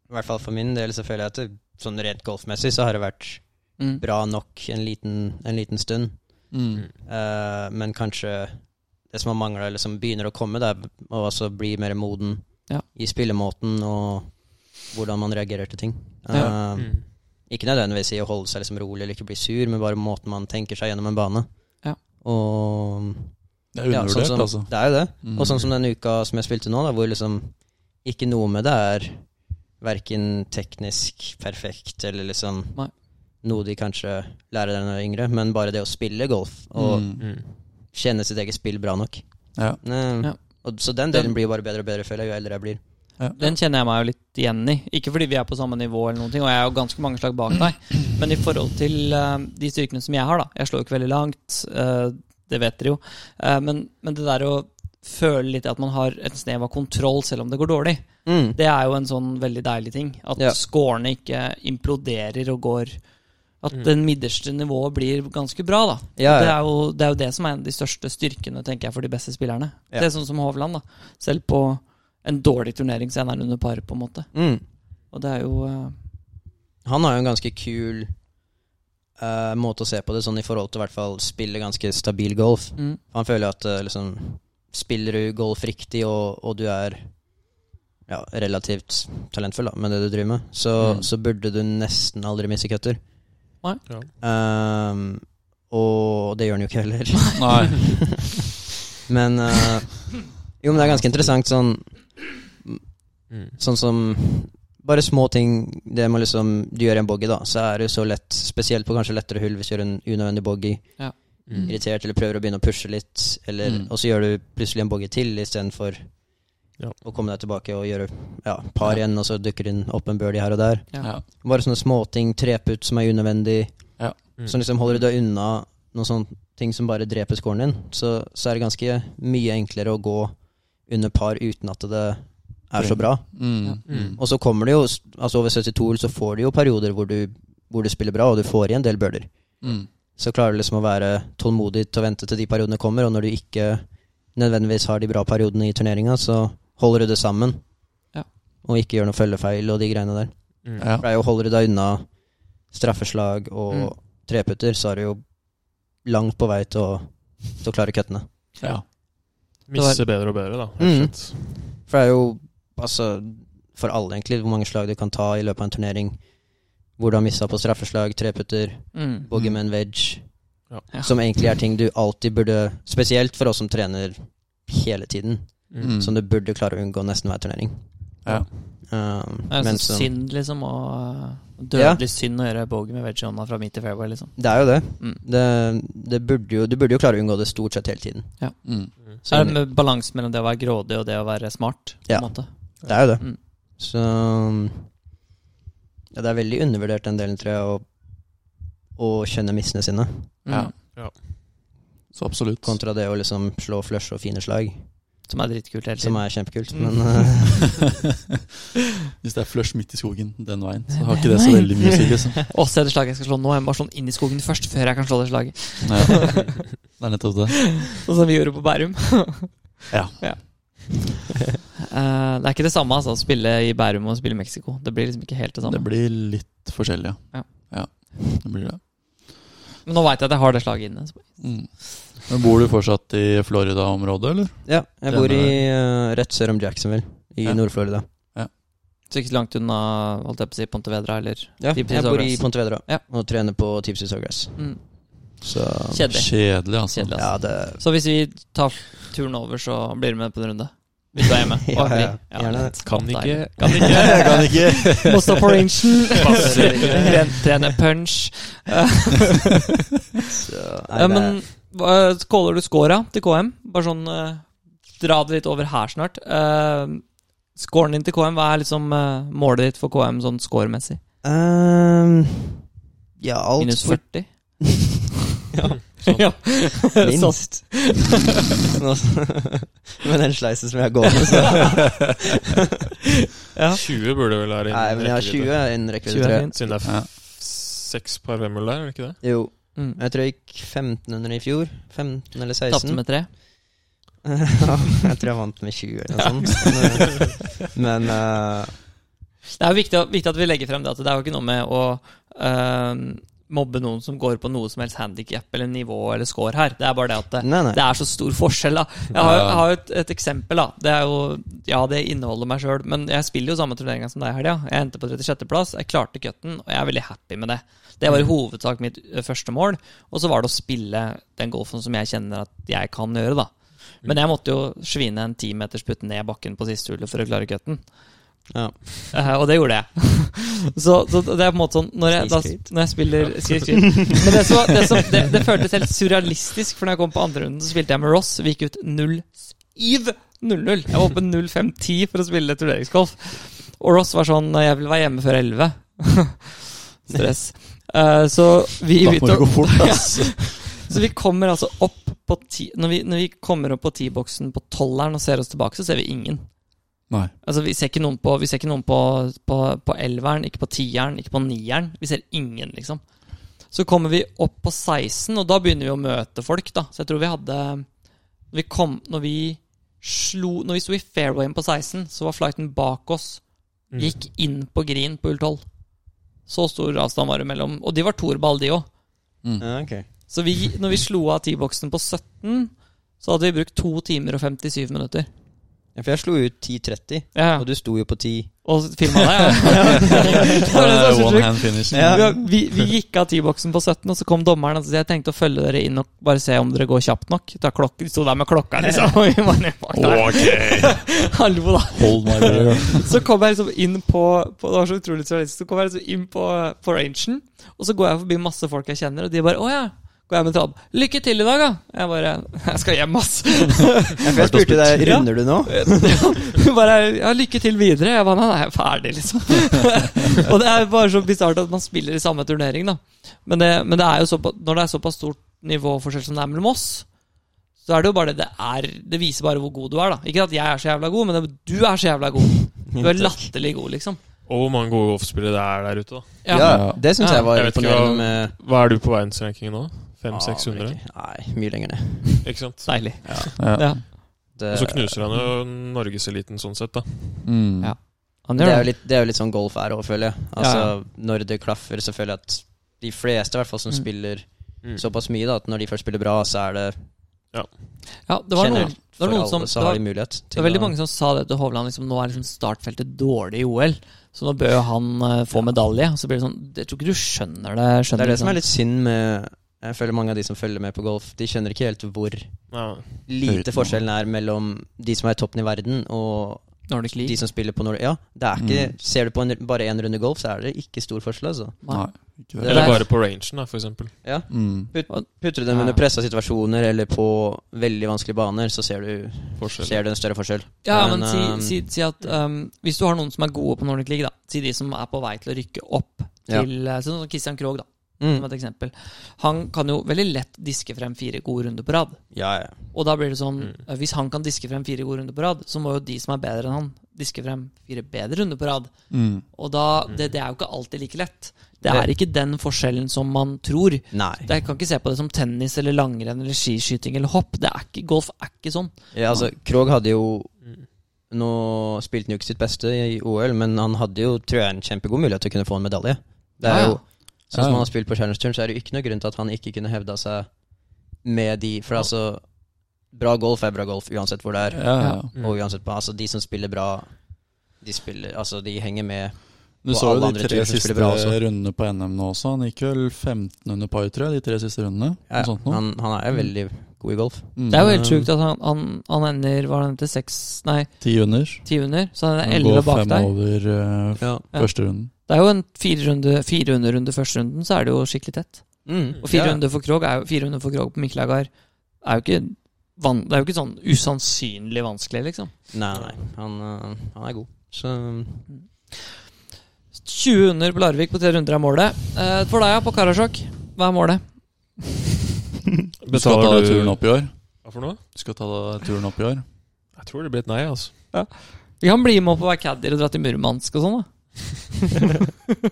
Speaker 3: i hvert fall for min del så føler jeg at det, sånn rent golfmessig så har det vært
Speaker 1: Mm.
Speaker 3: bra nok en liten, en liten stund.
Speaker 2: Mm.
Speaker 3: Eh, men kanskje det som har mangla, eller som begynner å komme, det er å også bli mer moden
Speaker 1: Ja.
Speaker 3: i spillemåten og hvordan man reagerer til ting.
Speaker 1: Ja.
Speaker 3: Eh,
Speaker 4: Mm.
Speaker 3: Ikke nødvendigvis i å holde seg liksom rolig eller ikke bli sur, men bare måten man tenker seg gjennom en bane.
Speaker 1: Ja.
Speaker 3: Og
Speaker 2: Det er
Speaker 3: ja,
Speaker 2: undervurdert,
Speaker 3: sånn
Speaker 2: altså.
Speaker 3: som, Det er jo det.
Speaker 2: Mm.
Speaker 3: Og sånn som denne uka som jeg spilte nå, da, hvor liksom ikke noe med det er verken teknisk perfekt eller liksom
Speaker 1: Nei.
Speaker 3: noe de kanskje lærer deg når de er yngre, men bare det å spille golf og
Speaker 2: Mm.
Speaker 4: Mm.
Speaker 3: kjenne sitt eget spill bra nok.
Speaker 2: Ja.
Speaker 3: Mm.
Speaker 1: Ja.
Speaker 3: Og, så den delen blir jo bare bedre og bedre, føler jeg, jo eldre jeg blir.
Speaker 1: Den kjenner jeg meg jo litt igjen i. Ikke fordi vi er på samme nivå, eller noen ting, og jeg er jo ganske mange slag bak deg, men i forhold til eh, de styrkene som jeg har, da. Jeg slår jo ikke veldig langt, eh, det vet dere jo. Eh, men, men det der å føle litt at man har et snev av kontroll selv om det går dårlig, Det er jo en sånn veldig deilig ting. At
Speaker 3: Ja.
Speaker 1: scorene ikke imploderer og går At
Speaker 4: Mm.
Speaker 1: den midterste nivået blir ganske bra, da.
Speaker 3: Ja,
Speaker 1: Det,
Speaker 3: ja.
Speaker 1: er jo, det er jo det som er en av de største styrkene tenker jeg, for de beste spillerne.
Speaker 3: Ja.
Speaker 1: Det er sånn som Hovland. da Selv på en dårlig turnering så er han under par, på en måte.
Speaker 3: Mm.
Speaker 1: Og det er jo eh,
Speaker 3: Han har jo en ganske kul eh, måte å se på det, sånn i forhold til i hvert fall spille ganske stabil golf.
Speaker 1: mm,
Speaker 3: Han føler jo at eh, liksom Spiller du golf riktig, og, og du er ja, relativt talentfull da, med det du driver med, så,
Speaker 2: Mm.
Speaker 3: så burde du nesten aldri misse cutter.
Speaker 1: Nei.
Speaker 4: Ja.
Speaker 3: Ehm, og det gjør han jo ikke heller.
Speaker 2: Nei.
Speaker 3: men eh, Jo, men det er ganske interessant sånn,
Speaker 4: Mm.
Speaker 3: sånn som bare små ting. Det med liksom Du gjør en boggy, da, så er det jo så lett, spesielt på kanskje lettere hull hvis du gjør en unødvendig boggy
Speaker 4: Mm.
Speaker 3: irritert eller prøver å begynne å pushe litt, eller,
Speaker 2: Mm.
Speaker 3: og så gjør du plutselig en bogey til istedenfor
Speaker 4: Ja.
Speaker 3: å komme deg tilbake og gjøre ja, par igjen, og så dukker det inn opp en birdie her og der.
Speaker 1: ja.
Speaker 2: Ja.
Speaker 3: Bare sånne småting, treputt som er unødvendig,
Speaker 2: Ja.
Speaker 4: Mm.
Speaker 3: som liksom holder deg unna sånn noen sånne ting som bare dreper scoren din, så, så er det ganske mye enklere å gå under par uten at det er så bra.
Speaker 2: Mm.
Speaker 4: Mm.
Speaker 3: Og så kommer det jo Altså over 72 så får du jo perioder hvor du, hvor du spiller bra, og du får igjen en del bøler.
Speaker 2: Mm.
Speaker 3: Så klarer du liksom å være tålmodig til å vente til de periodene kommer, og når du ikke nødvendigvis har de bra periodene i turneringa, så holder du det sammen.
Speaker 1: Ja.
Speaker 3: Og ikke gjør noe følgefeil og de greiene der.
Speaker 4: Mm.
Speaker 2: Ja.
Speaker 3: For det er jo holder du deg unna straffeslag og
Speaker 1: Mm.
Speaker 3: treputter, så er du jo langt på vei til å, til å klare kuttene.
Speaker 2: ja.
Speaker 4: Misse bedre og bedre, da.
Speaker 3: Mm.
Speaker 4: Rett og slett.
Speaker 3: For det er jo altså, for alle egentlig hvor mange slag du kan ta i løpet av en turnering. Hvor du har missa på straffeslag, treputter,
Speaker 1: Mm.
Speaker 3: bogeyman wedge.
Speaker 4: Ja.
Speaker 1: Ja.
Speaker 3: Som egentlig er ting du alltid burde Spesielt for oss som trener hele tiden.
Speaker 4: Mm.
Speaker 2: Mm.
Speaker 3: Som du burde klare å unngå nesten hver turnering.
Speaker 2: Ja.
Speaker 3: Um,
Speaker 1: Det er
Speaker 3: men
Speaker 1: en
Speaker 3: som,
Speaker 1: sånn synd, liksom. Og
Speaker 3: Ja.
Speaker 1: dødelig synd å gjøre bogey med wedge i hånda fra midt i fairway, liksom.
Speaker 3: det er jo det.
Speaker 1: Mm.
Speaker 3: det, det burde jo, du burde jo klare å unngå det stort sett hele tiden.
Speaker 2: Mm.
Speaker 1: Så er det
Speaker 3: Enig.
Speaker 1: med balansen mellom det å være grådig og det å være smart. på
Speaker 3: Ja.
Speaker 1: en måte.
Speaker 3: Det er jo det.
Speaker 1: Mm.
Speaker 3: Så ja, Det er veldig undervurdert den delen, tror jeg, å, å kjenne missene sine.
Speaker 1: Mm.
Speaker 2: Ja. Så absolutt.
Speaker 3: Kontra det å liksom slå flush og fine slag,
Speaker 1: Som er dritkult hele
Speaker 3: som
Speaker 1: tiden.
Speaker 3: er kjempekult.
Speaker 1: Mm.
Speaker 3: Men eh,
Speaker 2: Hvis det er flush midt i skogen den veien, så har ikke det så veldig mye å si. Liksom.
Speaker 1: Å, se det slaget jeg skal slå nå. Jeg må bare slå den inn i skogen først, før jeg kan slå det slaget.
Speaker 2: Ja. Det er nettopp det.
Speaker 1: Sånn som vi gjorde på Bærum.
Speaker 2: Ja.
Speaker 1: Eh, det er ikke det samme altså, å spille i Bærum og spille i Mexico. Det blir liksom ikke helt det samme.
Speaker 2: Det blir litt forskjellig, ja.
Speaker 1: Ja.
Speaker 2: ja. Det blir det.
Speaker 1: Men nå veit jeg at jeg har det slaget inne. Så-
Speaker 2: Mm. Men bor du fortsatt i Florida-området, eller?
Speaker 3: ja, jeg bor i eh, rett sør om Jacksonville, i
Speaker 2: Ja.
Speaker 3: Nord-Florida.
Speaker 1: Så ikke så langt unna holdt jeg på å si, Pontevedra eller
Speaker 3: Ja,
Speaker 1: Deep Sea
Speaker 3: jeg bor i
Speaker 1: Sawgrass.
Speaker 3: Pontevedra
Speaker 1: Ja.
Speaker 3: og trener på Tipsy Sawgrass.
Speaker 1: mm,
Speaker 3: Så
Speaker 1: Kjedelig.
Speaker 2: Kjedelig, altså.
Speaker 1: Kjedelig,
Speaker 3: Ja,
Speaker 1: altså.
Speaker 3: det
Speaker 1: Så hvis vi tar turen over, så blir du med på en runde? Hvis du er hjemme?
Speaker 3: Ja,
Speaker 1: og er fri.
Speaker 3: ja. Gjerne.
Speaker 1: greit.
Speaker 4: Kan ikke.
Speaker 1: Kan ikke.
Speaker 2: Kan ikke.
Speaker 1: Må stå på rangen.
Speaker 4: Passer ikke.
Speaker 1: Tren- Trene punch.
Speaker 3: så, nei,
Speaker 1: Ja,
Speaker 3: det-
Speaker 1: men hva- caller du scora til KM? Bare sånn eh, Dra det litt over her snart. Eh, scoren din til KM, hva er liksom eh, målet ditt for KM sånn scoremessig?
Speaker 3: Ehm, ja, alt
Speaker 1: Minus
Speaker 3: for
Speaker 1: 40?
Speaker 4: Sånn.
Speaker 1: ja. Sånn.
Speaker 3: Minst. Nå- med den sleisen som jeg går med, så
Speaker 4: 20 burde vel være
Speaker 3: Nei, men jeg har 20
Speaker 4: rekkevidde.
Speaker 3: innen
Speaker 1: 20
Speaker 3: rekkevidde
Speaker 1: er
Speaker 3: 3.
Speaker 1: fint.
Speaker 4: Siden det er
Speaker 2: Ja.
Speaker 4: f- seks par femmel der, er det ikke det?
Speaker 3: Jo,
Speaker 1: Mm.
Speaker 3: jeg tror jeg gikk 1500 i fjor. 15 eller
Speaker 1: Tapte
Speaker 3: 16.
Speaker 1: med tre.
Speaker 3: Ja, jeg tror jeg vant med 20 eller noe sånt. Men, men eh,
Speaker 1: Det er jo viktig, viktig at vi legger frem det at det er jo ikke noe med å eh, mobbe noen som går på noe som helst handikap eller nivå eller score her. Det er bare det at eh, det,
Speaker 3: Nei, nei.
Speaker 1: det er så stor forskjell, da. Jeg har, jeg har jo et, et eksempel, da. Det er jo, ja, det inneholder meg sjøl, men jeg spiller jo samme turneringa som deg i helga. Jeg endte på 36.-plass, jeg klarte cutten, og jeg er veldig happy med det. Det var i hovedsak mitt eh, første mål, og så var det å spille den golfen som jeg kjenner at jeg kan gjøre, da. Men jeg måtte jo svine en timetersputt ned bakken på siste hullet for å klare cutten.
Speaker 3: Ja.
Speaker 1: Eh, og det gjorde jeg. så, så det er på en måte sånn Når jeg, da,
Speaker 3: Skate-skate.
Speaker 1: når jeg spiller skate-skate Men det, som, var- det, som, det, det føltes helt surrealistisk, for når jeg kom på andre runden, så spilte jeg med Ross. Vi gikk ut 0-7-0-0. Jeg var oppe 0-5-10 for å spille turneringsgolf. Og Ross var sånn Jeg vil være hjemme før 11. Stress. Eh, så vi
Speaker 2: Da må
Speaker 1: begynte
Speaker 2: det
Speaker 1: å-
Speaker 2: gå fort, altså.
Speaker 1: så vi kommer altså opp på ti Når vi, når vi kommer opp på T-boksen på tolleren og ser oss tilbake, så ser vi ingen.
Speaker 2: Nei.
Speaker 1: Altså Vi ser ikke noen på Vi ser ikke noen på, på, på elveren, ikke på tieren, ikke på nieren. Vi ser ingen, liksom. Så kommer vi opp på 16, og da begynner vi å møte folk, da. Så jeg tror vi hadde Når vi kom Når vi slo Når vi sto i fairwayen på 16, så var flighten bak oss.
Speaker 4: Mm.
Speaker 1: Gikk inn på green på hull 12. Så stor avstand var det mellom Og de var toerball, de òg.
Speaker 2: Mm.
Speaker 3: ja, ok.
Speaker 1: Så vi, når vi slo av T-boksen på 17, så hadde vi brukt 2 timer og 57 minutter.
Speaker 3: Ja, For jeg slo ut 10.30,
Speaker 1: Ja,
Speaker 3: og du sto jo på 10.
Speaker 1: Og filma det, ja. Det var det som var så
Speaker 2: One
Speaker 1: sjukt.
Speaker 2: hand finish.
Speaker 3: Ja.
Speaker 1: Ja, vi, vi gikk av T-boksen på 17, og så kom dommeren og så sa jeg tenkte å følge dere inn og bare se om dere går kjapt nok. Da klok- De sto der med klokka, liksom. Og vi bare, fuck, nei. Hallo, da.
Speaker 2: Hold my beer.
Speaker 1: Så kom jeg liksom inn på, på Det var så utrolig surrealistisk. Så kom jeg liksom inn på, på rangen, og så går jeg forbi masse folk jeg kjenner, og de bare 'Å ja'. Går jeg med traden. 'Lykke til i dag', da. Jeg bare 'Jeg skal hjem, ass'.
Speaker 3: Ja, for jeg spurte deg
Speaker 1: Ja.
Speaker 3: runder du nå.
Speaker 1: Hun bare ja, 'Lykke til videre'. Jeg bare Nei, nei, jeg er ferdig, liksom. og det er bare så bisart at man spiller i samme turnering, da. Men det, men det er jo såpass, når det er såpass stort nivåforskjell som det er mellom oss, så er det jo bare det det er Det viser bare hvor god du er, da. Ikke at jeg er så jævla god, men det, du er så jævla god. Du er latterlig god, liksom.
Speaker 4: Og hvor mange gode golfspillere det er der ute, da.
Speaker 1: Ja.
Speaker 2: Ja.
Speaker 3: Det syns
Speaker 1: Ja.
Speaker 3: jeg var
Speaker 4: Jeg vet ikke
Speaker 3: imponerende
Speaker 4: hva-
Speaker 3: med
Speaker 4: Hva er du på verdensrankingen nå? 500-600?
Speaker 3: Ah, Nei, mye lenger ned.
Speaker 4: Ikke sant?
Speaker 1: Deilig.
Speaker 2: Ja.
Speaker 1: Ja.
Speaker 3: Det,
Speaker 4: Og så knuser han jo norgeseliten sånn sett, da.
Speaker 2: Mm.
Speaker 1: Ja. Han
Speaker 3: det,
Speaker 1: gjør
Speaker 3: er jo
Speaker 1: det.
Speaker 3: litt, det er jo litt sånn golf er òg, føler jeg. Altså,
Speaker 1: Ja,
Speaker 3: Når det klaffer, så føler jeg at de fleste i hvert fall som
Speaker 1: Mm.
Speaker 3: spiller såpass mye, da, at når de først spiller bra, så er det
Speaker 1: Ja, det var noen,
Speaker 3: generelt
Speaker 1: det
Speaker 3: for
Speaker 1: var noen
Speaker 3: alle,
Speaker 1: som
Speaker 3: så
Speaker 1: det var-
Speaker 3: har de mulighet.
Speaker 1: Det er veldig mange som sa det til Hovland. Liksom, nå er liksom startfeltet dårlig i OL, så nå bør jo han eh, få medalje. Og Så blir det sånn Jeg tror ikke du skjønner det. Skjønner
Speaker 3: Det er det som
Speaker 1: liksom.
Speaker 3: er litt synd med Jeg føler mange av de som følger med på golf, de skjønner ikke helt hvor
Speaker 4: Ja.
Speaker 3: lite
Speaker 2: Høyden.
Speaker 3: forskjellen er mellom de som er i toppen i verden, og
Speaker 1: Nordic
Speaker 3: de
Speaker 1: League.
Speaker 3: som spiller på Nord... Ja, det er ikke
Speaker 1: Mm.
Speaker 3: Ser du på en, bare én runde golf, så er det ikke stor forskjell, altså.
Speaker 2: Nei, ikke det.
Speaker 4: Eller
Speaker 1: er-
Speaker 4: bare på rangen, da, for eksempel.
Speaker 2: Mm.
Speaker 3: Put, putter du dem
Speaker 1: Ja.
Speaker 3: under pressa situasjoner eller på veldig vanskelige baner, så ser du,
Speaker 4: Forskjell.
Speaker 3: ser du en større forskjell.
Speaker 1: Ja, men,
Speaker 3: Men, um,
Speaker 1: si, si, si at um, hvis du har noen som er gode på Nordic League, da. Si de som er på vei til å rykke opp
Speaker 3: Ja.
Speaker 1: til eh, Sånn som Christian Krogh, da, som
Speaker 3: Mm.
Speaker 1: et eksempel. Han kan jo veldig lett diske frem fire gode runder på rad.
Speaker 3: Ja, ja.
Speaker 1: Og da blir det sånn
Speaker 4: Mm.
Speaker 1: eh, Hvis han kan diske frem fire gode runder på rad, så må jo de som er bedre enn han, diske frem fire bedre runder på rad.
Speaker 2: Mm.
Speaker 1: Og da, det, det er jo ikke alltid like lett. Det
Speaker 3: Det-
Speaker 1: er ikke den forskjellen som man tror.
Speaker 3: Nei.
Speaker 1: Jeg kan ikke se på det som tennis eller langrenn eller skiskyting eller hopp. Det er ikke, golf er ikke sånn.
Speaker 3: Ja, altså, Krog hadde jo
Speaker 4: Mm.
Speaker 3: Nå spilte han jo ikke sitt beste i OL, men han hadde jo, tror jeg, en kjempegod mulighet til å kunne få en medalje. Det
Speaker 1: Ja,
Speaker 3: er
Speaker 1: ja.
Speaker 3: jo Sånn
Speaker 2: Ja, ja.
Speaker 3: som han har spilt på Challenge Turn, så er det jo ikke noe grunn til at han ikke kunne hevda seg med de For altså, bra golf er bra golf uansett hvor det er,
Speaker 2: Ja, ja.
Speaker 4: Mm.
Speaker 3: og uansett på Altså, de som spiller bra, de spiller Altså, de henger med.
Speaker 2: Du
Speaker 3: Og
Speaker 2: så
Speaker 3: alle
Speaker 2: jo
Speaker 3: andre
Speaker 2: de tre
Speaker 3: turer som
Speaker 2: siste
Speaker 3: spiller bra også.
Speaker 2: rundene på NM nå også. Han gikk vel 15 under par, tror jeg, de tre siste rundene. Noe
Speaker 3: Ja,
Speaker 2: sånt nå.
Speaker 3: han, han er jo veldig god i golf.
Speaker 2: Mm.
Speaker 1: Det er jo helt sjukt at han, han, han ender Hva er det til seks Nei,
Speaker 2: Ti under.
Speaker 1: ti under. Så han er
Speaker 2: Han
Speaker 1: elleve
Speaker 2: går
Speaker 1: bak
Speaker 2: fem
Speaker 1: der.
Speaker 2: over eh,
Speaker 3: Ja.
Speaker 1: Ja.
Speaker 2: første runden.
Speaker 1: Det er jo en fire runde, fire under runde første runden, så er det jo skikkelig tett.
Speaker 3: Mm.
Speaker 1: Og fire
Speaker 3: Ja.
Speaker 1: runder for Krog er jo, fire runder for Krog på Miklagard er jo ikke van, Det er jo ikke sånn usannsynlig vanskelig, liksom.
Speaker 3: Nei, nei. Han, øh, han er god. Så
Speaker 1: 20 under på Larvik på tre runder er målet. Eh, for deg, ja, på Karasjok, hva er målet?
Speaker 2: Du skal ta
Speaker 4: Betaler
Speaker 2: deg turen
Speaker 4: du
Speaker 2: opp i år.
Speaker 4: Hva for noe?
Speaker 2: Du skal ta deg turen opp i år.
Speaker 4: Jeg tror det blir et nei, altså.
Speaker 1: Vi kan bli med opp og være caddier og dra til Murmansk og sånn, da.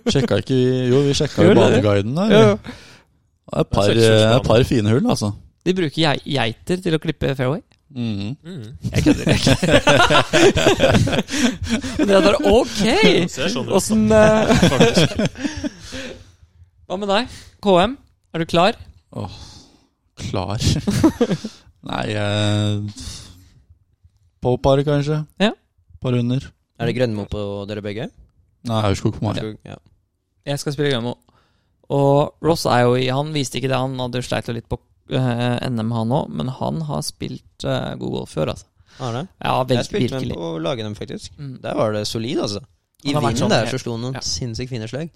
Speaker 2: Sjekka ikke vi Jo, vi sjekka jo
Speaker 1: Gjorde dere det?
Speaker 2: baneguiden der.
Speaker 1: Ja, ja.
Speaker 2: Det er et par, eh,
Speaker 4: Det er seksårsbane.
Speaker 2: et par fine hull, altså.
Speaker 1: De bruker gei- geiter til å klippe fairway.
Speaker 2: Mhm.
Speaker 4: Mm.
Speaker 1: Jeg kødder ikke. Dere er bare ok!
Speaker 4: Ser sånn ut.
Speaker 1: Åssen eh,
Speaker 4: Faktisk.
Speaker 1: Hva med deg? KM, er du klar?
Speaker 2: Klar. Nei eh, På par, kanskje.
Speaker 1: Ja.
Speaker 2: Par under.
Speaker 3: er det Grønmo på dere begge?
Speaker 2: Nei, Aurskog på meg.
Speaker 3: Krog? Ja.
Speaker 1: Jeg skal spille Grønmo. Og Ross er jo i Han viste ikke det, han hadde sleit jo litt på eh, NM, han òg, men han har spilt eh, god golf før, altså.
Speaker 3: Har det?
Speaker 1: Ja, vel,
Speaker 3: Jeg spilte med
Speaker 1: virkelig.
Speaker 3: dem på lagene, dem, faktisk.
Speaker 1: Mm.
Speaker 3: Der var det solid, altså. I
Speaker 1: Han har vært
Speaker 3: vinden
Speaker 1: sånn
Speaker 3: der
Speaker 1: helt-
Speaker 3: så slo han noen
Speaker 1: ja.
Speaker 3: sinnssykt fine slag.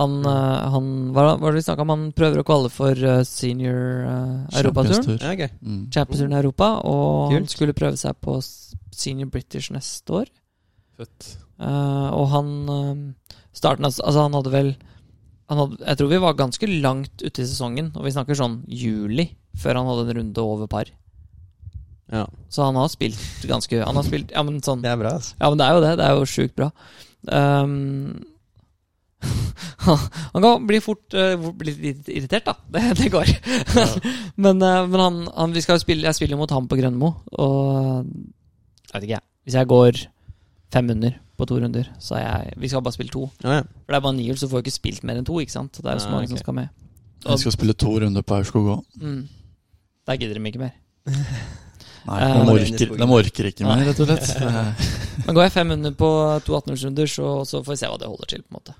Speaker 1: Han, eh, han Hva var det vi snakka om? Han prøver å kvalle for eh, senior uh, europaturen.
Speaker 2: Kjempestur.
Speaker 3: Ja, ok.
Speaker 2: Mm.
Speaker 1: Championsturen i Europa, og han
Speaker 3: Kult.
Speaker 1: skulle prøve seg på s- senior British neste år.
Speaker 4: Fett.
Speaker 1: Eh, og han eh, starten, altså, altså han hadde vel han hadde, Jeg tror vi var ganske langt ute i sesongen, og vi snakker sånn juli, før han hadde en runde over par.
Speaker 3: Ja.
Speaker 1: Så han har spilt ganske Han har spilt Ja, men sånn
Speaker 3: Det er bra, altså.
Speaker 1: Ja, men det er jo det. Det er jo sjukt bra. Ehm, han kan bli fort eh, bli litt irritert, da. Det, det går. men eh, men han, han, vi skal jo spille, jeg spiller jo mot ham på Grønmo, og jeg vet ikke, jeg. Hvis jeg går fem under på to runder, så er jeg Vi skal bare spille to.
Speaker 3: Ja, ja.
Speaker 1: For det er bare nihjul, så får jeg ikke spilt mer enn to, ikke sant. Det er jo så
Speaker 3: Nei,
Speaker 1: mange som
Speaker 3: ok.
Speaker 1: skal med.
Speaker 2: Jeg skal spille to runder på Aurskog òg.
Speaker 1: Mm. Der gidder de ikke mer.
Speaker 2: Nei,
Speaker 1: Eh,
Speaker 2: de
Speaker 3: det er
Speaker 2: orker,
Speaker 3: Innsbruck.
Speaker 2: de orker ikke mer, rett og slett. Det-
Speaker 1: Men går jeg fem under på to 18-årsrunder, så, så får vi se hva det holder til, på en måte.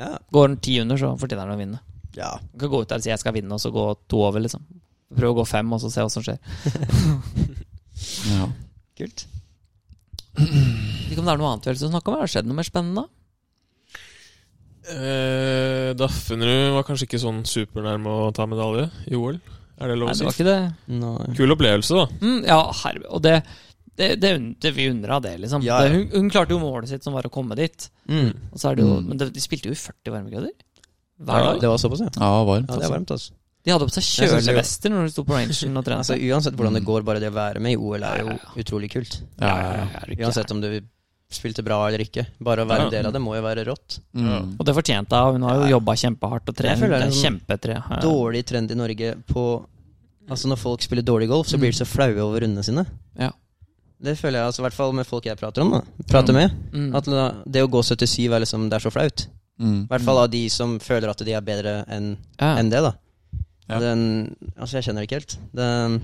Speaker 3: Ja.
Speaker 1: Går den ti under, så fortjener han å vinne.
Speaker 3: ja.
Speaker 1: Du kan gå ut der og si 'jeg skal vinne', og så gå to over, liksom. Prøve å gå fem, og så se hva som skjer.
Speaker 2: Ja.
Speaker 3: Kult.
Speaker 1: Ikke om det er noe annet vi har lyst til å snakke om? Har det skjedd noe mer spennende?
Speaker 4: Eh, Daffenrud var kanskje ikke sånn supernærme å ta medalje i OL. Er det lov
Speaker 1: Nei,
Speaker 4: å
Speaker 1: det var
Speaker 4: si?
Speaker 1: ikke det.
Speaker 3: Nei.
Speaker 4: Kul opplevelse, da.
Speaker 1: Mm, ja, herre Og det, det, det, unn- det Vi unner henne det, liksom.
Speaker 3: Ja, ja.
Speaker 1: Det, hun, hun klarte jo målet sitt, som var å komme dit.
Speaker 3: Mm.
Speaker 1: Og så er det jo,
Speaker 2: Mm.
Speaker 1: Men det, de spilte jo i 40 varmegrader.
Speaker 3: Ja,
Speaker 1: Hver dag.
Speaker 3: Det var såpass, ja.
Speaker 2: ja, varmt.
Speaker 3: Ja, det er
Speaker 2: Altså.
Speaker 3: varmt, altså.
Speaker 1: De hadde på seg
Speaker 3: Jeg synes jo-
Speaker 1: kjølevester når de sto på rangen og trente.
Speaker 3: Altså Uansett hvordan det går, bare det å være med i OL er jo utrolig kult.
Speaker 2: Ja, ja, ja.
Speaker 3: Uansett om du spilte bra eller ikke. Bare å være
Speaker 4: Ja.
Speaker 3: del av det må jo være rått.
Speaker 2: Mm.
Speaker 1: Og det fortjente hun. Hun har jo jobba kjempehardt og
Speaker 3: Jeg
Speaker 1: trent.
Speaker 3: føler det
Speaker 1: Det
Speaker 3: er
Speaker 1: er
Speaker 3: en
Speaker 1: kjempetre. Ja.
Speaker 3: Dårlig trend i Norge på Altså Når folk spiller dårlig golf, så blir de så flaue over rundene sine.
Speaker 1: Mm. Ja.
Speaker 3: Det føler jeg altså, i hvert fall med folk jeg prater om. da Prater med
Speaker 1: Mm.
Speaker 3: At da- det å gå 77 er liksom Det er så flaut.
Speaker 2: Mm.
Speaker 3: I hvert fall av de som føler at de er bedre enn
Speaker 1: ja.
Speaker 3: enn det. da
Speaker 2: Ja.
Speaker 3: Den, Altså Jeg kjenner det ikke helt. Det,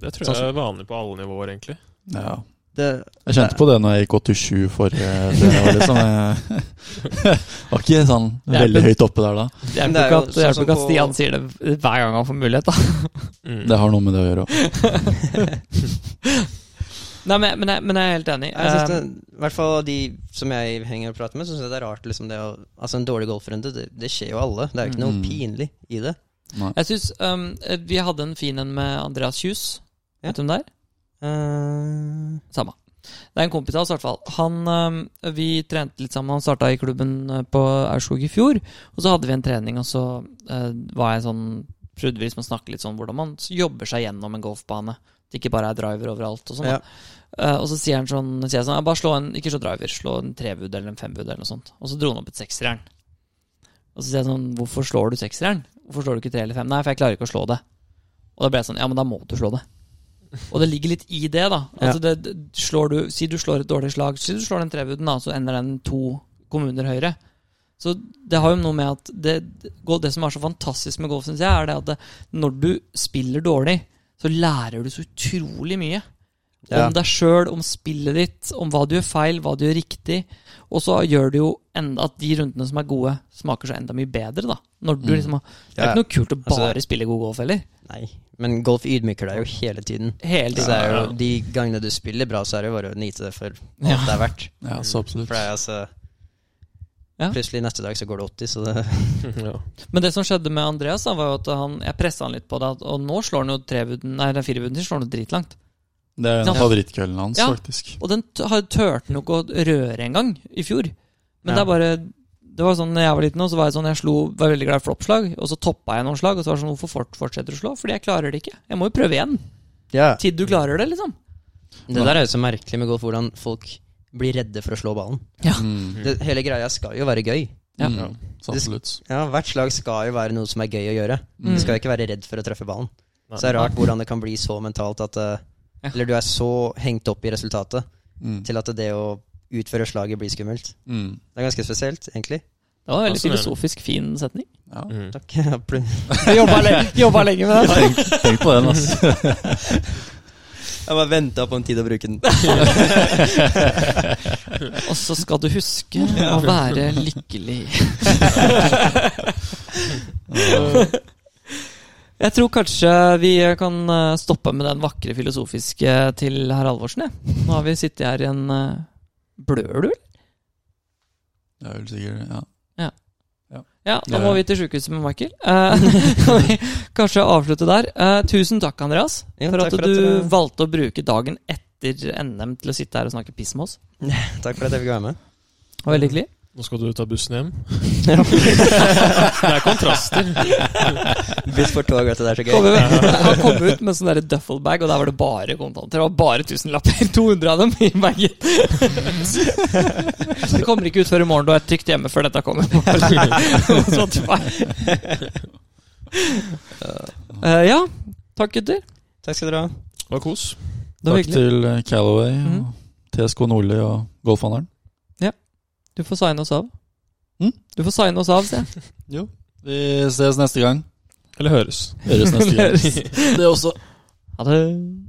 Speaker 4: Det tror jeg er vanlig på alle nivåer, egentlig.
Speaker 2: Ja.
Speaker 3: det,
Speaker 2: Jeg kjente på det når jeg gikk 87 forrige det var liksom jeg, Var ikke sånn
Speaker 1: Det er
Speaker 2: veldig
Speaker 1: pen-
Speaker 2: høyt oppe der da.
Speaker 1: Det
Speaker 3: Men
Speaker 1: hjelper
Speaker 3: det
Speaker 1: ikke
Speaker 3: er jo
Speaker 1: at, det hjelper
Speaker 3: sånn
Speaker 1: ikke at
Speaker 3: som på-
Speaker 1: Stian sier det hver gang han får mulighet, da.
Speaker 4: Mm.
Speaker 2: Det har noe med det å gjøre. også.
Speaker 1: Nei, men, men, jeg, men jeg er helt enig.
Speaker 3: jeg synes det,
Speaker 1: Eh,
Speaker 3: I hvert fall av de som jeg henger og prater med, så syns jeg det er rart. Liksom, det å, altså En dårlig golfrunde, det, det skjer jo alle. Det er jo ikke noe
Speaker 2: Mm.
Speaker 3: pinlig i det.
Speaker 2: Nei.
Speaker 1: Jeg syns um, vi hadde en fin en med Andreas Kjus.
Speaker 3: Ja.
Speaker 1: Vet du hvem det er?
Speaker 3: Eh,
Speaker 1: Samme. Det er en kompis av oss, i hvert fall. Han, øhm, vi trente litt sammen. Han starta i klubben øh, på Aurskog i fjor. Og så hadde vi en trening, og så øh, var jeg sånn Prøvde vi liksom å snakke litt sånn hvordan man s- jobber seg gjennom en golfbane. At det ikke bare er driver overalt og sånn. da.
Speaker 3: Ja.
Speaker 1: Eh, og så sier han sånn, sier jeg sånn «Ja, Bare slå en ikke slå driver, slå en trebud eller en fembud eller noe sånt. Og så dro han opp et seksjern. Og så sier jeg sånn Hvorfor slår du seksjern? Hvorfor slår du ikke tre eller fem? Nei, for jeg klarer ikke å slå det. Og da ble jeg sånn Ja, men da må du slå det. Og det ligger litt i det, da. Altså det, det, slår du, si du slår et dårlig slag, si du slår den trebuden, da, så ender den to kommuner høyere. Så det har jo noe med at det, go- det som er så fantastisk med golf, syns jeg, er det at det, når du spiller dårlig, så lærer du så utrolig mye.
Speaker 3: Ja.
Speaker 1: Om deg sjøl, om spillet ditt, om hva du gjør feil, hva du gjør riktig. Og så gjør det jo enda at de rundene som er gode, smaker så enda mye bedre, da. Når du
Speaker 2: Mm.
Speaker 1: liksom har, det er
Speaker 3: Ja.
Speaker 1: ikke noe kult å
Speaker 3: Altså,
Speaker 1: bare spille god golf heller.
Speaker 3: Nei. Men golf ydmyker deg jo hele tiden.
Speaker 1: Hele
Speaker 3: Så
Speaker 1: tiden.
Speaker 3: det er jo,
Speaker 4: Ja.
Speaker 3: de gangene du spiller bra, så er det jo bare å nyte det for alt
Speaker 1: Ja.
Speaker 3: det er verdt.
Speaker 2: Ja, så absolutt.
Speaker 3: For det er altså
Speaker 1: Ja.
Speaker 3: Plutselig neste dag så går det 80, så det
Speaker 4: ja.
Speaker 1: Men det som skjedde med Andreas, da, var jo at han, jeg pressa han litt på det. at- Og nå slår han jo trebuden, nei, den firebuden sin slår han jo dritlangt.
Speaker 2: Det er en av
Speaker 1: Ja.
Speaker 2: favorittkvelden hans,
Speaker 1: Ja.
Speaker 2: faktisk.
Speaker 1: Og den t- har- turte han jo ikke å røre engang i fjor. Men det
Speaker 3: Ja.
Speaker 1: er bare Det var sånn når jeg var liten, og så var jeg sånn Jeg slo, var veldig glad i floppslag, og så toppa jeg noen slag, og så var det sånn Hvorfor fort- fortsetter du å slå? Fordi jeg klarer det ikke. Jeg må jo prøve igjen.
Speaker 3: Ja.
Speaker 1: Til du klarer det, liksom.
Speaker 3: Det der er jo så merkelig med golf, hvordan folk blir redde for å slå ballen.
Speaker 2: Mm.
Speaker 3: Det, hele greia skal jo være gøy.
Speaker 1: Ja.
Speaker 2: Mm. Så absolutt.
Speaker 3: Ja, Hvert slag skal jo være noe som er gøy å gjøre.
Speaker 1: Mm.
Speaker 3: Du skal jo ikke være redd for å treffe ballen.
Speaker 4: Nei.
Speaker 3: Så det er rart hvordan det kan bli så mentalt at eh,
Speaker 1: Ja.
Speaker 3: Eller du er så hengt opp i resultatet
Speaker 2: Mm.
Speaker 3: til at det å utføre slaget blir skummelt.
Speaker 2: Mm.
Speaker 3: Det er ganske spesielt, egentlig.
Speaker 1: Det var en veldig
Speaker 4: Fascinerende.
Speaker 1: filosofisk fin setning.
Speaker 2: Ja.
Speaker 4: Mm.
Speaker 3: Takk. Jeg har pl-
Speaker 1: Jeg jobba lenge, jobba lenge med den.
Speaker 2: Tenk, tenk på den, altså.
Speaker 3: Jeg bare venta på en tid å bruke den.
Speaker 1: Og så skal du huske å være lykkelig. Jeg tror kanskje vi kan eh, stoppe med den vakre filosofiske eh, til herr Alvorsen. jeg. Nå har vi sittet her i en eh, Blør du, eller?
Speaker 2: Det er vel sikkert ja.
Speaker 1: Ja, da
Speaker 2: Ja,
Speaker 1: må
Speaker 2: ja.
Speaker 1: vi til sjukehuset med Michael. Eh, kan vi kanskje avslutte der. Eh, tusen takk, Andreas,
Speaker 3: Ja,
Speaker 1: for
Speaker 3: takk
Speaker 1: at
Speaker 3: for at
Speaker 1: du
Speaker 3: dere-
Speaker 1: valgte å bruke dagen etter NM til å sitte her og snakke piss med oss.
Speaker 3: eh, Takk for at jeg fikk være med.
Speaker 1: Det var veldig hyggelig.
Speaker 4: Nå skal du ta bussen hjem.
Speaker 3: det
Speaker 4: er kontraster.
Speaker 3: Buss for tog, vet du. Det er så
Speaker 1: Kom
Speaker 3: gøy.
Speaker 1: ut- Han kom ut med sånn der duffelbag, og der var det bare kontanter. Det var bare tusenlapper. 200 av dem i bagen. Så det kommer ikke ut før i morgen. Du er trygt hjemme før dette kommer. på Spotify. Eh, ja. Takk, gutter.
Speaker 3: Takk skal dere ha.
Speaker 4: Det var kos.
Speaker 1: Det var
Speaker 2: Takk
Speaker 1: hyggelig.
Speaker 2: til eh, Callaway,
Speaker 1: Mhm.
Speaker 2: og TSK Nordli og Golfhandelen.
Speaker 1: Du får signe oss av.
Speaker 2: Mm?
Speaker 1: Du får signe oss av, sier jeg.
Speaker 2: Vi ses neste gang.
Speaker 4: Eller høres.
Speaker 2: Høres neste gang.
Speaker 1: Høres.
Speaker 2: Det også.
Speaker 1: Ha det.